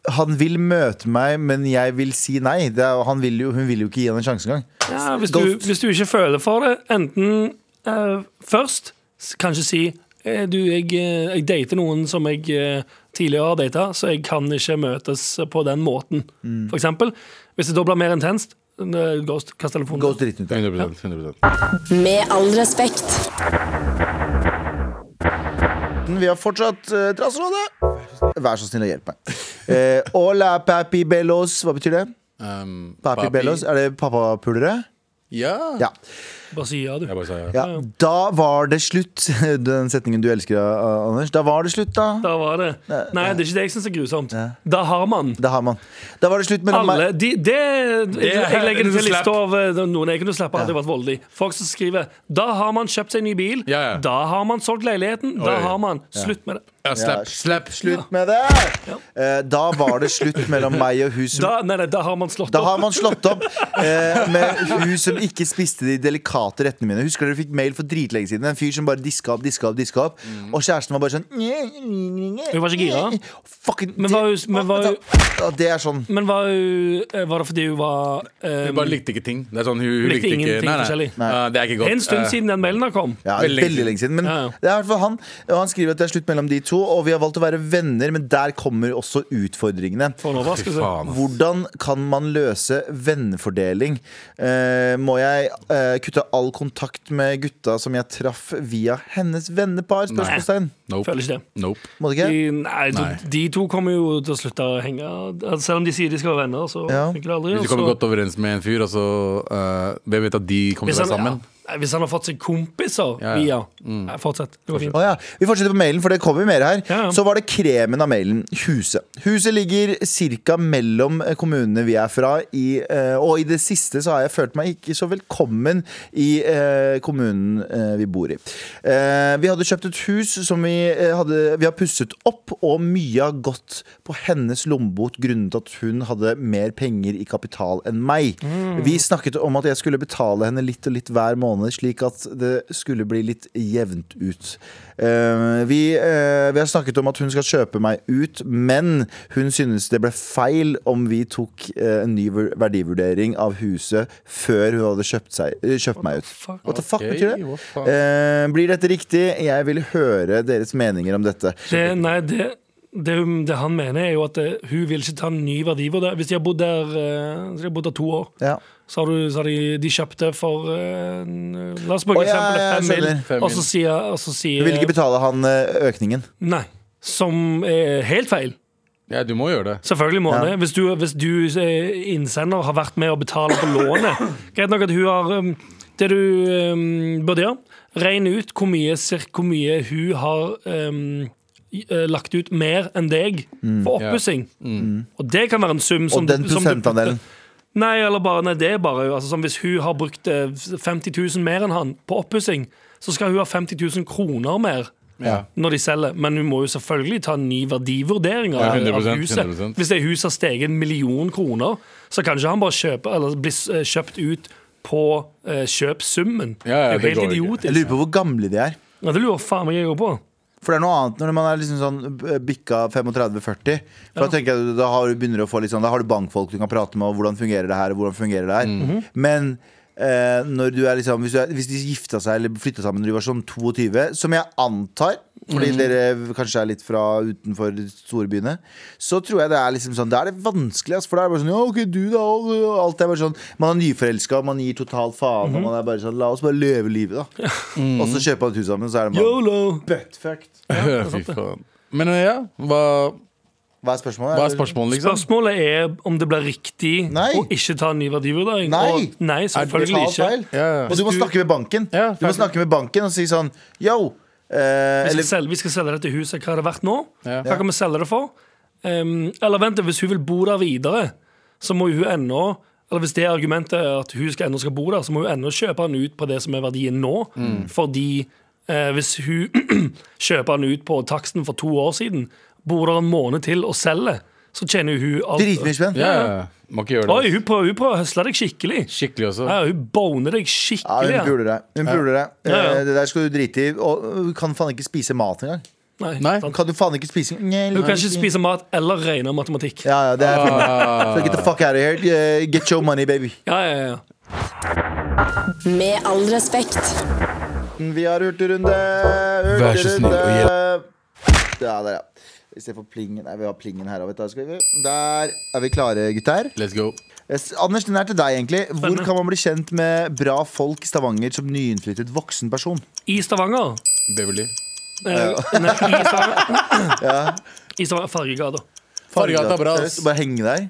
Speaker 4: Han vil møte meg, men jeg vil si nei det er, han vil jo, Hun vil jo ikke gi han en sjanse engang
Speaker 3: Ja, hvis, du, hvis du ikke føler for det, enten eh, først s- kanskje si eh, Du, jeg, eh, jeg dater noen som jeg eh, tidligere har data, så jeg kan ikke møtes på den måten,
Speaker 2: Mm.
Speaker 3: for eksempel. Hvis det da blir mer intenst, eh, ghost, kast telefonen.
Speaker 4: Gå dritten ut
Speaker 2: 100%, 100%.
Speaker 6: Med all respekt.
Speaker 4: Vi har fortsatt eh, Trassrådet Vær så snill å hjelpe meg Eh, Hola papi bellos, hva betyr det?
Speaker 2: Um,
Speaker 4: Papi, bellos, er det pappapulere?
Speaker 2: Ja.
Speaker 4: Ja.
Speaker 3: Bare si ja, du.
Speaker 2: Jeg bare sa ja.
Speaker 4: ja Da var det slutt Den setningen du elsker, eh, Anders Da var det slutt da
Speaker 3: Da var det. Nei, det er ikke det jeg syns er grusomt. Da har man.
Speaker 4: Da har man Da var det slutt mellom meg
Speaker 3: Alle, de, det, jeg legger det til
Speaker 2: en
Speaker 3: lista
Speaker 2: slapp.
Speaker 3: over eh, noen jeg kunne slappe. Hadde jeg vært voldelig. Folk som skriver 'Da har man kjøpt seg ny bil'.
Speaker 2: Ja, ja.
Speaker 3: Da har man solgt leiligheten. Da
Speaker 2: Oi.
Speaker 3: har man Slutt med det.
Speaker 2: ja
Speaker 4: Ja,
Speaker 2: slapp, slapp.
Speaker 4: Slutt med det! Eh, da var det slutt mellom meg og hun som
Speaker 3: Da, nei, nei, da har man slått
Speaker 4: da har
Speaker 3: opp.
Speaker 4: man slått opp eh, med hun som ikke spiste de delikate rettene mine. Husker dere fikk mail for dritlenge siden? En fyr som bare diska opp, diska opp, diska opp. Og kjæresten var bare sånn Hun
Speaker 3: Mm. var ikke gira?
Speaker 4: Fucking
Speaker 3: Men var hun- men var hun-
Speaker 4: Ja, Det er sånn
Speaker 3: Men var, hun- eh, var det fordi hun var eh,
Speaker 2: Hun bare likte ikke ting. Det er sånn, hun, hun
Speaker 3: Likte
Speaker 2: likte, ikke
Speaker 3: ingenting forskjellig.
Speaker 2: Ja, det er ikke godt.
Speaker 3: En stund
Speaker 2: Eh,
Speaker 3: siden den mailen her kom.
Speaker 4: ja,
Speaker 2: Veldig
Speaker 4: veldig,
Speaker 2: lenge siden.
Speaker 4: lenge siden. Men
Speaker 3: Ja, ja.
Speaker 4: det er i hvert fall han. Og han skriver at det er slutt mellom de to, og vi har valgt å være venner, men der kommer også utfordringene.
Speaker 3: For
Speaker 2: Fy
Speaker 3: en overraskelse.
Speaker 2: faen. ass.
Speaker 4: Hvordan kan man løse vennefordeling? Eh, må jeg eh, kutte all kontakt med gutta som jeg traff via hennes vennepar? Spørsmålstegn.
Speaker 2: Nope.
Speaker 3: Føler ikke det.
Speaker 2: Nope.
Speaker 4: Må det ikke?
Speaker 3: De, nei, de,
Speaker 2: Nei.
Speaker 3: de to kommer jo til å slutte å henge. Altså, Selv om de sier de skal være venner, så
Speaker 4: Ja.
Speaker 3: funker det aldri.
Speaker 2: Hvis
Speaker 3: og
Speaker 2: du kommer
Speaker 3: så-
Speaker 2: godt overens med en fyr, altså, eh, hvem vet at de kommer
Speaker 3: Hvis
Speaker 2: til å være
Speaker 3: han-
Speaker 2: sammen?
Speaker 3: Ja. Nei, Hvis han har fått seg kompiser
Speaker 2: Ja, Mm. ja.
Speaker 3: via Nei, Fortsett. Det går fint.
Speaker 4: Å ja. Vi fortsetter på mailen, for det kommer mer her.
Speaker 3: Ja, ja.
Speaker 4: Så var det kremen av mailen Huset. Huset ligger ca. mellom kommunene vi er fra, i, eh, og i det siste så har jeg følt meg ikke så velkommen i eh, kommunen eh, vi bor i. Eh, vi hadde kjøpt et hus som vi, eh, hadde, vi har pusset opp, og mye har gått på hennes lommebok grunnet at hun hadde mer penger i kapital enn meg. Vi snakket om at jeg skulle betale henne litt og litt hver måned, slik at det skulle bli litt jevnt ut. Eh, vi, eh, vi har snakket om at hun skal kjøpe meg ut, men hun synes det ble feil om vi tok eh, en ny vur- verdivurdering av huset før hun hadde kjøpt, seg, eh, kjøpt meg ut.
Speaker 3: fuck?
Speaker 4: What the fuck
Speaker 2: Ok,
Speaker 4: betyr det?
Speaker 2: hva faen?
Speaker 4: Eh, blir dette riktig? Jeg vil høre deres meninger om dette.
Speaker 3: Det, nei, det, det, hun- det han mener, er jo at det, hun vil ikke ta en ny verdivurdering. Hvis de har bodd der, eh, så de har bodd der to år,
Speaker 4: Ja.
Speaker 3: så har, du, så har de, de kjøpt det for eh, en- La oss bruke
Speaker 4: Å, ja, ja, jeg
Speaker 3: eksempelet fem
Speaker 4: skjønner.
Speaker 2: Fem
Speaker 3: mil, og
Speaker 2: mil.
Speaker 3: så sier, og så sier
Speaker 4: Hun vil ikke betale han eh, økningen.
Speaker 3: Nei. Som er helt feil.
Speaker 2: Ja, du må gjøre det.
Speaker 3: Selvfølgelig må han
Speaker 4: Ja.
Speaker 3: det. Hvis du, hvis du eh, innsender har vært med å betale på lånet Greit nok at hun har um, Det du um, burde gjøre, regne ut hvor mye, cirka, hvor mye hun har um, i- eh, lagt ut mer enn deg for
Speaker 2: Ja.
Speaker 3: oppussing. Og det kan være en sum som
Speaker 4: Mm. Og den
Speaker 3: du- som du putter-
Speaker 4: prosentandelen.
Speaker 3: Nei, eller bare, nei, det er bare altså, som Hvis hun har brukt eh, 50 000 mer enn han på oppussing, så skal hun ha 50 000 kroner mer
Speaker 2: Ja.
Speaker 3: når de selger. Men hun må jo selvfølgelig ta en ny verdivurdering av,
Speaker 2: Ja, 100%,
Speaker 3: av huset.
Speaker 2: 100%.
Speaker 3: Hvis det huset har steget en million kroner, så kan ikke han bare kjøpe Eller bli s- eh, kjøpt ut på eh, kjøpsummen.
Speaker 2: Ja, ja,
Speaker 3: det er
Speaker 2: det går
Speaker 3: jo
Speaker 2: ikke.
Speaker 3: helt
Speaker 4: Jeg
Speaker 3: idiotisk.
Speaker 4: lurer på hvor gamle de er.
Speaker 3: Ja, det lurer faen meg jeg òg på.
Speaker 4: For det er noe annet når man er liksom sånn eh, bikka 35-40. For Da tenker jeg, da har du, begynner du å få litt sånn Da har du bankfolk du kan prate med, og hvordan fungerer det her, og hvordan fungerer det her.
Speaker 2: Mm.
Speaker 4: Mhm. Men eh, når du er liksom hvis, du er, hvis de gifta seg eller flytta sammen når de var sånn 22, som jeg antar fordi
Speaker 2: Mhm.
Speaker 4: dere kanskje er litt fra utenfor de store byene Så tror jeg det er liksom sånn Da er det vanskelig, ass, for da er det bare sånn Ja, ok, du da og, og Alt er bare sånn Man er nyforelska, man gir total faen,
Speaker 2: Mhm.
Speaker 4: og man er bare sånn La oss bare leve livet, da. Og så kjøper man et hus sammen, så er det bare
Speaker 3: Yolo!
Speaker 4: buttfucked.
Speaker 2: Fy faen. Men eh, ja, hva,
Speaker 4: Hva er spørsmålet?
Speaker 2: hva er spørsmålet, liksom?
Speaker 3: Spørsmålet er om det blir riktig
Speaker 4: Nei.
Speaker 3: å ikke ta en ny verdivurdering.
Speaker 4: Nei.
Speaker 3: Og, nei, selvfølgelig
Speaker 4: Totalt
Speaker 3: ikke.
Speaker 4: feil.
Speaker 2: Ja.
Speaker 4: Og du må
Speaker 3: Du-
Speaker 4: snakke med banken
Speaker 2: Ja,
Speaker 4: Du må
Speaker 2: ferdig.
Speaker 4: snakke med banken og si sånn Yo! Eh,
Speaker 3: Vi skal,
Speaker 4: eller
Speaker 3: selge, vi skal selge dette huset. Hva er det verdt nå?
Speaker 2: Ja.
Speaker 3: Hva kan vi selge det for? Ehm, eller vent, hvis hun vil bo der videre, så må jo hun ennå eller Hvis det er argumentet er at hun skal ennå skal bo der, så må hun ennå kjøpe den ut på det som er verdien nå. Fordi eh, hvis hun kjøper den ut på taksten for to år siden, bor der en måned til og selger, så tjener jo hun alt.
Speaker 4: dritmye spenn.
Speaker 2: Ja, ja, ja. Må ikke gjøre
Speaker 3: Oi,
Speaker 2: det.
Speaker 3: hun prøver, hun prøver å høsle deg skikkelig.
Speaker 2: Skikkelig også.
Speaker 3: Ja, hun boner deg
Speaker 4: Ja, hun
Speaker 3: skikkelig. ja.
Speaker 4: puler deg. Hun puler deg.
Speaker 3: Ja, ja.
Speaker 4: Eh, Det der skal du drite i. Og hun kan faen ikke spise mat engang.
Speaker 3: Nei,
Speaker 2: Nei.
Speaker 3: sant.
Speaker 4: Kan du faen ikke spise Nei,
Speaker 3: Hun kan ikke spise mat eller regne matematikk.
Speaker 4: Ja, ja, det er
Speaker 3: Ah.
Speaker 4: Så get the fuck out of here. Eh, Get your money, baby.
Speaker 3: Ja, ja, ja.
Speaker 6: Med all respekt.
Speaker 4: Vi har hurtigrunde. hurtigrunde.
Speaker 2: Vær så snill og
Speaker 4: Ja, der, ja. Istedenfor plingen. Nei, vi har plingen her òg, vet du. Skal vi- Der er vi klare, gutter.
Speaker 2: Let's go.
Speaker 4: Yes, Anders, den er til deg egentlig Hvor
Speaker 3: Spennende.
Speaker 4: kan man bli kjent med bra folk i Stavanger som nyinnflyttet voksen person?
Speaker 3: I Stavanger
Speaker 2: Beverly.
Speaker 3: Eh, nei, I Stavanger I Stavanger Fargegata.
Speaker 2: Fargata bra. ass.
Speaker 4: Bare henge der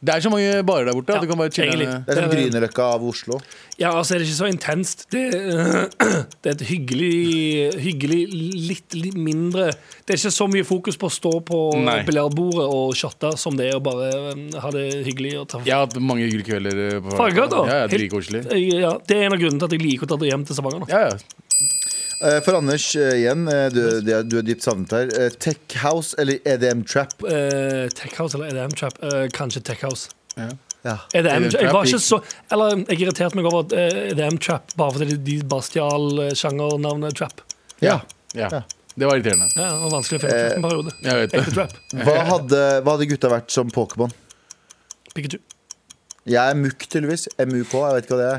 Speaker 4: Det
Speaker 2: Det er så mange barer der borte. at
Speaker 3: Ja,
Speaker 2: Du kan bare chille.
Speaker 3: egentlig.
Speaker 2: med-
Speaker 4: er som
Speaker 3: Det er-
Speaker 4: Grünerløkka av Oslo
Speaker 3: Ja, altså er det ikke så intenst. Det, det er et hyggelig, hyggelig litt, litt mindre Det er ikke så mye fokus på å stå på
Speaker 2: Nei.
Speaker 3: biljardbordet og shotte som det er å bare eh, ha det hyggelig. Og ta
Speaker 2: Jeg har hatt mange hyggelige kvelder eh, på Ja,
Speaker 3: Fargegata?
Speaker 2: ja,
Speaker 3: Helt- Eh,
Speaker 2: Dritkoselig.
Speaker 3: Ja, det er en av grunnene til at jeg liker å ta hjem til Stavanger. Da.
Speaker 2: Ja, ja.
Speaker 4: Eh, For Anders, eh, igjen eh, Du, du er- du er dypt savnet her Eh, Tech House eller EDM Trap
Speaker 3: Eh, tech House eller EDM Trap? Eh, kanskje Tech House.
Speaker 4: ja.
Speaker 3: EDM,
Speaker 2: EDM
Speaker 3: Trap, jeg
Speaker 2: Trap
Speaker 3: var ikke
Speaker 2: gikk-
Speaker 3: så Eller jeg irriterte meg over at eh, EDM Trap bare fordi de, de bare stjal eh, sjangernavnet Trap.
Speaker 4: Ja.
Speaker 2: ja. Det var irriterende.
Speaker 3: Ja, det var vanskelig å finne
Speaker 2: Eh,
Speaker 3: trap en periode.
Speaker 2: Jeg vet
Speaker 3: Ekte
Speaker 2: det.
Speaker 3: trap.
Speaker 4: Hva, hadde, hva hadde gutta vært som Pokémon?
Speaker 3: Pikachu.
Speaker 4: Jeg er mukk tydeligvis MUK, jeg vet ikke hva det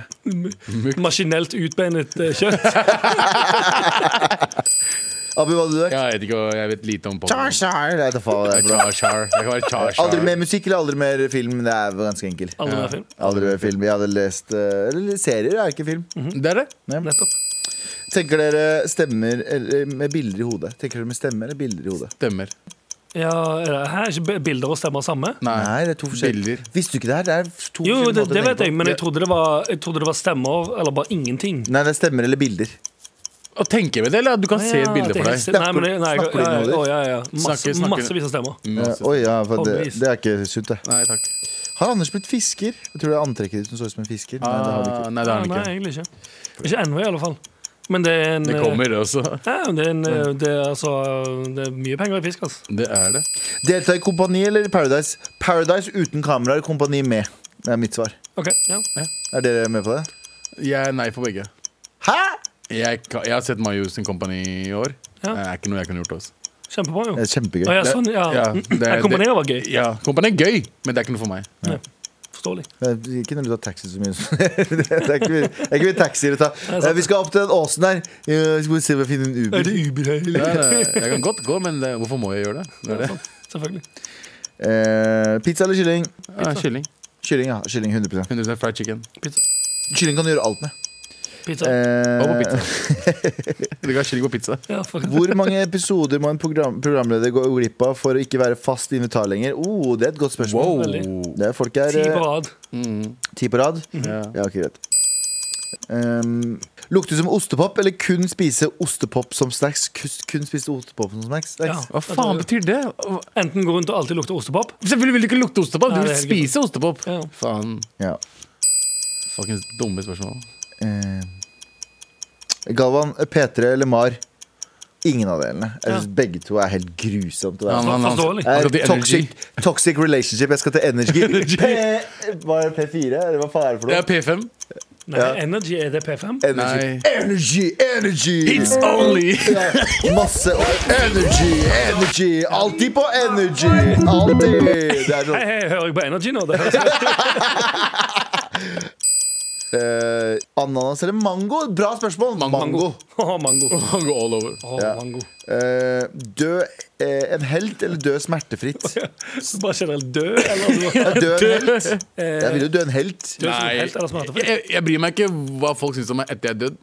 Speaker 4: er
Speaker 3: Maskinelt utbeinet eh, kjøtt.
Speaker 4: Abu, hva hadde du vært?
Speaker 2: Jeg vet ikke, hva- jeg vet lite om
Speaker 4: Char,
Speaker 2: Pokémon.
Speaker 4: char. Jeg vet da faen hva det er for noe.
Speaker 2: Char-char. Jeg kan være
Speaker 4: Aldri
Speaker 2: char-char.
Speaker 4: mer musikk eller aldri mer film Det er ganske enkelt
Speaker 3: Aldri mer film.
Speaker 4: Aldri mer film Jeg hadde lest eh, Eller serier er ikke film
Speaker 2: Mhm. Det er det.
Speaker 3: Nettopp.
Speaker 4: Tenker dere stemmer eller med bilder i hodet? Tenker dere med stemmer eller bilder i hodet?
Speaker 2: Stemmer.
Speaker 3: Ja, er det her? Er ikke b- bilder og stemmer samme?
Speaker 4: Nei, det er to forskjellige
Speaker 2: Bilder.
Speaker 4: Visste du ikke det her? Det er to forskjellige
Speaker 3: Jo, det,
Speaker 4: måter å
Speaker 3: det
Speaker 4: tenke
Speaker 3: vet jeg,
Speaker 4: på.
Speaker 3: men jeg trodde det var, jeg trodde det var stemmer, eller bare ingenting.
Speaker 4: Nei, det er stemmer eller bilder.
Speaker 2: Og tenker vi det, eller at du kan se et bilde for
Speaker 3: Ja, det er
Speaker 2: deg?
Speaker 3: helt- Nei, men jeg- nei,
Speaker 4: Snakker du
Speaker 3: ja,
Speaker 4: nå, eller?
Speaker 3: ja, ja, ja. Masse,
Speaker 2: Snakker- snakker-
Speaker 3: massevis av stemmer.
Speaker 2: Mm.
Speaker 4: Eh, Oi, ja, for det,
Speaker 3: Håndvis.
Speaker 4: det er ikke sunt, det.
Speaker 2: Nei takk.
Speaker 4: Har Anders blitt fisker? Jeg tror det er antrekket ditt som så ut som en fisker. Nei, det har du
Speaker 2: Ah,
Speaker 4: ikke.
Speaker 2: nei, det har
Speaker 3: Ja,
Speaker 2: han
Speaker 3: nei,
Speaker 2: ikke.
Speaker 3: egentlig ikke. Ikke ennå, i alle fall. Men det er en
Speaker 2: Det
Speaker 3: eh,
Speaker 2: kommer, det også.
Speaker 3: Ja, men det, er en, eh, det, er altså, det er mye penger i fisk, altså.
Speaker 2: Det er det.
Speaker 4: Delta i Kompani eller Paradise? Paradise uten kameraer, Kompani med. Det er mitt svar.
Speaker 3: Ok, ja.
Speaker 4: Er dere med på det?
Speaker 2: Jeg er nei for begge.
Speaker 4: Hæ?
Speaker 2: Jeg, kan, jeg har sett Majus sin Company i år.
Speaker 3: Ja.
Speaker 2: Det er ikke noe jeg kunne gjort. Også.
Speaker 3: Kjempebra, jo.
Speaker 4: Det er kjempegøy.
Speaker 3: Å, ja, sånn, ja.
Speaker 2: Ja, det-
Speaker 3: Mm, jeg kombinerer var gøy.
Speaker 2: Ja, Company er gøy, men det er ikke noe for meg.
Speaker 3: Forståelig.
Speaker 4: Det er Ikke når du tar taxi så mye. som- det er ikke mye, det er ikke mye taxier å ta. Eh, Vi skal opp til den åsen her. Eh, Skal vi se om vi finner en Uber.
Speaker 3: Uber her?
Speaker 2: Nei, nei, jeg kan godt gå, men det, hvorfor må jeg gjøre det? det, er det.
Speaker 3: Sånn. Selvfølgelig.
Speaker 4: Eh, pizza eller kylling?
Speaker 2: Ah, kylling.
Speaker 4: Kylling, ja. Kylling 100
Speaker 2: 100 fried chicken.
Speaker 3: Pizza.
Speaker 4: Kylling kan du gjøre alt med.
Speaker 3: Pizza.
Speaker 2: Og på
Speaker 4: Eh,
Speaker 2: pizza. Du kan ha kylling på pizza.
Speaker 3: Ja, for,
Speaker 4: hvor mange episoder må en program, programleder gå glipp av for å ikke være fast invitar lenger? Oh, det er et godt spørsmål.
Speaker 2: Wow.
Speaker 3: Veldig.
Speaker 4: Det er folk er
Speaker 3: ti på
Speaker 4: eh,
Speaker 3: rad.
Speaker 2: Mm,
Speaker 4: ti på rad.
Speaker 2: ja.
Speaker 4: Ja, ok, greit. Um, lukte som ostepop eller kun spise ostepop som snacks? Kus- Kun spise ostepop som snacks?
Speaker 3: Ja.
Speaker 4: snacks?
Speaker 2: Hva faen betyr det?
Speaker 3: Enten gå rundt og alltid lukte ostepop.
Speaker 2: Selvfølgelig vil du ikke lukte ostepop, du
Speaker 3: Nei,
Speaker 2: vil
Speaker 3: det er helt
Speaker 2: spise ostepop.
Speaker 3: Ja.
Speaker 2: Faen.
Speaker 4: Ja.
Speaker 2: Fuckings dumme spørsmål.
Speaker 4: Eh, Galvan, P3 eller Mar? Ingen av delene. Jeg synes Begge to er helt grusomt. å være.
Speaker 2: Han- han- han-
Speaker 3: Forståelig.
Speaker 4: Jeg
Speaker 2: han
Speaker 4: Altså, er
Speaker 2: skal til Energy.
Speaker 4: Eh, toxic, toxic relationship. Jeg skal til energy. P var det P4? Eller hva faen er det for
Speaker 2: Det
Speaker 4: noe?
Speaker 2: er P5.
Speaker 3: Nei, Energy, er det P5?
Speaker 4: Eh. Energy. Energy, energy!
Speaker 2: only
Speaker 4: Ja, Masse energy, energy! Alltid på energy! Alltid! Det er
Speaker 3: Hei,
Speaker 4: sånn
Speaker 3: hei, hører jeg på Energy nå? Det høres
Speaker 4: eh, Ananas eller mango? Bra spørsmål. Mango.
Speaker 3: Åh, mango.
Speaker 2: Han går all over.
Speaker 3: Åh,
Speaker 4: Ja.
Speaker 3: mango.
Speaker 4: Eh, dø eh, en helt eller dø smertefritt?
Speaker 3: Så bare generelt død, eller?
Speaker 4: Dø en helt.
Speaker 3: Eh,
Speaker 4: Jeg vil jo dø en helt.
Speaker 3: død som sånn helt, eller smertefri.
Speaker 2: Jeg, jeg bryr meg ikke hva folk syns om meg etter jeg er død.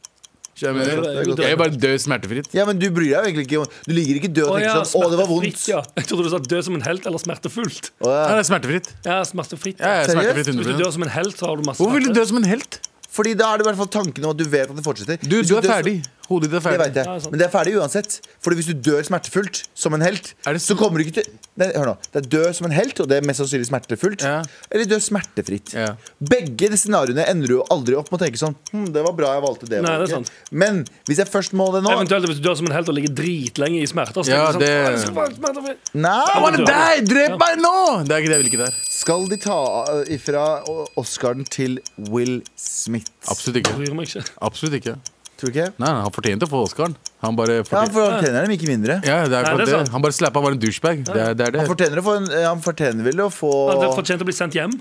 Speaker 2: Skjønner du hva Jeg
Speaker 3: Det er
Speaker 2: mener?
Speaker 3: godt.
Speaker 2: Jeg vil bare dø smertefritt.
Speaker 4: Ja, men du bryr deg jo egentlig ikke om Du ligger ikke død og
Speaker 3: Åh,
Speaker 4: tenker
Speaker 3: ja,
Speaker 4: sånn Å, det var vondt.
Speaker 3: smertefritt, Ja. Jeg trodde du sa død som en helt eller smertefullt.
Speaker 4: Å,
Speaker 2: Nei,
Speaker 4: ja.
Speaker 2: det er smertefritt.
Speaker 3: Ja, smertefritt.
Speaker 2: Jeg er
Speaker 4: Seriøst?
Speaker 2: smertefritt
Speaker 3: Hvis du
Speaker 2: 100
Speaker 3: dør som en helt, så har du masse
Speaker 2: Hvorfor vil du dø som en helt?
Speaker 4: Fordi da er det i hvert fall tanken om at du vet at det fortsetter.
Speaker 2: Du,
Speaker 4: Hvis
Speaker 2: du er
Speaker 4: dør-
Speaker 2: ferdig. Hodet ditt er
Speaker 4: Det
Speaker 2: ferdig.
Speaker 4: vet jeg.
Speaker 3: Ja, det er sant.
Speaker 4: Men det er ferdig uansett. Fordi hvis du dør smertefullt som en helt,
Speaker 2: Er det
Speaker 4: så
Speaker 2: så-
Speaker 4: kommer du ikke til Nei, Hør nå. Det er dø som en helt, og det er mest sannsynlig smertefullt.
Speaker 2: Ja.
Speaker 4: Eller dø smertefritt.
Speaker 2: Ja.
Speaker 4: Begge de scenarioene ender du jo aldri opp med å tenke sånn hm, Det var bra jeg valgte det.
Speaker 3: Nei, det er
Speaker 4: valget».
Speaker 3: sant.
Speaker 4: Men hvis jeg først må det nå
Speaker 3: Eventuelt hvis du dør som en helt og ligger dritlenge i smerter. Så
Speaker 2: Ja,
Speaker 3: tenker du
Speaker 2: det-
Speaker 3: sånn, «Åh, jeg skal være smertefri».
Speaker 2: I
Speaker 4: Nei!
Speaker 2: wanna die! Drep meg nå! Det er ikke det jeg vil ikke der.
Speaker 4: Skal de ta uh, ifra uh, Oscaren til Will Smith?
Speaker 2: Absolutt ikke.
Speaker 3: Bryr meg ikke.
Speaker 2: Absolutt ikke.
Speaker 4: Tror du ikke?
Speaker 2: Nei, nei, han fortjente å få Oscaren. Han bare
Speaker 4: Ja,
Speaker 2: fortjente.
Speaker 4: for han tjener dem ikke mindre.
Speaker 2: Ja, det er
Speaker 3: Nei,
Speaker 2: akkurat
Speaker 3: det er
Speaker 2: det.
Speaker 3: sant.
Speaker 2: Han bare slappa, han var en douchebag. Det er det. Er det.
Speaker 4: Han fortjener, å få en, eh, han fortjener vel å få
Speaker 3: At det fortjente å bli sendt hjem.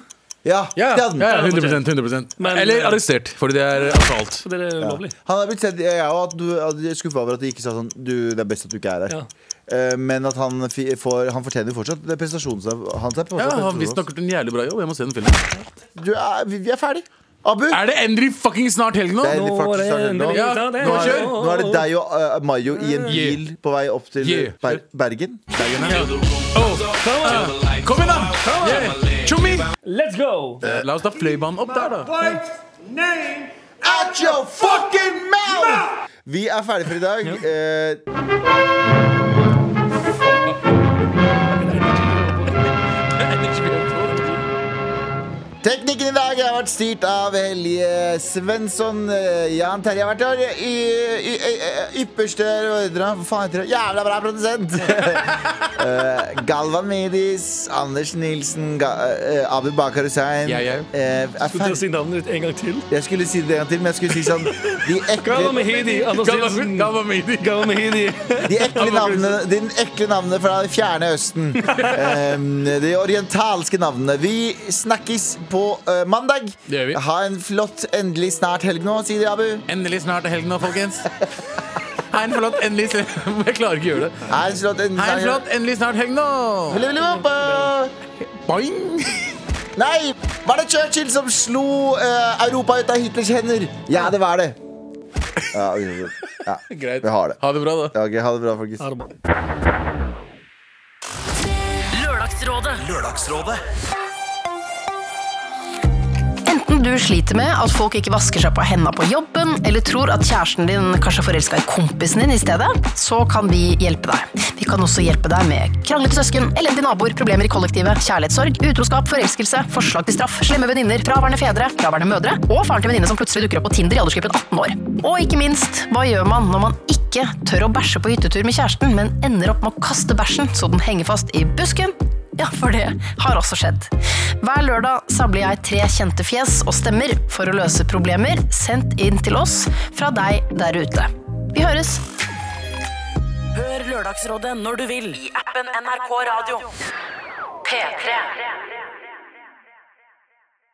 Speaker 4: Ja,
Speaker 2: Ja,
Speaker 4: det hadde
Speaker 2: ja,
Speaker 4: han.
Speaker 2: 100, 100
Speaker 3: Men-
Speaker 2: Eller arrestert, fordi det er assault.
Speaker 3: For det er ulovlig.
Speaker 4: Han er blitt sett, jeg er jo at du, at jeg er skuffa over at de ikke sa sånn Du, det er best at du ikke er her.
Speaker 3: Ja.
Speaker 4: Eh, men at han, fi- får, han fortjener fortsatt det er prestasjonen som- hans. Er fortsatt
Speaker 2: Ja,
Speaker 4: prestasjonen
Speaker 2: Han visstnok
Speaker 4: hans.
Speaker 2: gjort en jævlig bra jobb. Jeg må se den filmen.
Speaker 4: Du er, vi, vi er ferdig. Abu,
Speaker 2: Er det endelig fucking snart helg nå?
Speaker 4: Det er-
Speaker 3: Nå er det endelig
Speaker 2: Ja, nå kjør.
Speaker 4: nå er,
Speaker 3: snart
Speaker 4: det,
Speaker 3: helg.
Speaker 4: nå er det deg og eh, Mayo i en
Speaker 2: Yeah.
Speaker 4: bil på vei opp til
Speaker 2: Yeah.
Speaker 4: Ber Bergen.
Speaker 2: Ah, Kom igjen, da! Yeah. Tjommi!
Speaker 3: Let's go!
Speaker 2: Eh, La oss ta fløibanen opp der, da.
Speaker 7: Wife's name
Speaker 4: At your fucking mouth! Vi er ferdig for i dag. Eh, teknikken i dag har vært styrt av Helje Svensson. Eh, Jan Terje har vært her. Y, y, y, y, ypperste ordre. Hva faen heter det? Jævla bra produsent! Eh, Galvan Medis, Anders Nilsen, Ga eh, Abu Bakar Hussein
Speaker 2: Jeg, jeg.
Speaker 4: eh, er
Speaker 3: Skulle
Speaker 4: ferdig.
Speaker 3: du si navnet ditt en gang til?
Speaker 4: Jeg skulle si det en gang til, men jeg skulle si sånn De
Speaker 3: Gava
Speaker 4: ekle,
Speaker 3: Mehidi. Anders Nilsen.
Speaker 2: Gamma mini.
Speaker 3: Gava Mehidi.
Speaker 4: de ekle navnene din ekle navnene fra det fjerne Østen. Em, de orientalske navnene. Vi snakkes på eh, mandag.
Speaker 2: Det gjør vi.
Speaker 4: Ha en flott endelig snart helg nå, sier de, Abu.
Speaker 2: Endelig snart er helg nå, folkens. Hei, en flott endelig snart Jeg klarer ikke å gjøre det.
Speaker 4: Ha en flott endelig
Speaker 2: Hei, en
Speaker 4: snart
Speaker 2: flott endelig snart helg nå!
Speaker 4: Ville, ville, hoppa!
Speaker 2: Boing!
Speaker 4: Nei! Var det Churchill som slo eh, Europa ut av Hitlers hender? Ja, det var det. Ja, vi, ja.
Speaker 2: Greit.
Speaker 4: vi har det.
Speaker 2: Ha det bra, da.
Speaker 4: Ja, ok, ha det bra, folkens.
Speaker 3: Ha det bra.
Speaker 8: Lørdagsrådet
Speaker 9: Enten du sliter med at folk ikke vasker seg på hendene på jobben, eller tror at kjæresten din kanskje er forelska i kompisen din i stedet, så kan vi hjelpe deg. Vi kan også hjelpe deg med kranglete søsken, elendige naboer, problemer i kollektivet, kjærlighetssorg, utroskap, forelskelse, forslag til straff, slemme venninner, fraværende fedre, fraværende mødre og faren til venninne som plutselig dukker opp på Tinder i aldersgruppen 18 år. Og ikke minst, hva gjør man når man ikke tør å bæsje på hyttetur med kjæresten, men ender opp med å kaste bæsjen så den henger fast i busken? Ja, for det har også skjedd. Hver lørdag samler jeg tre kjente fjes og stemmer for å løse problemer sendt inn til oss fra deg der ute. Vi høres!
Speaker 10: Hør Lørdagsrådet når du vil i appen NRK Radio. P3.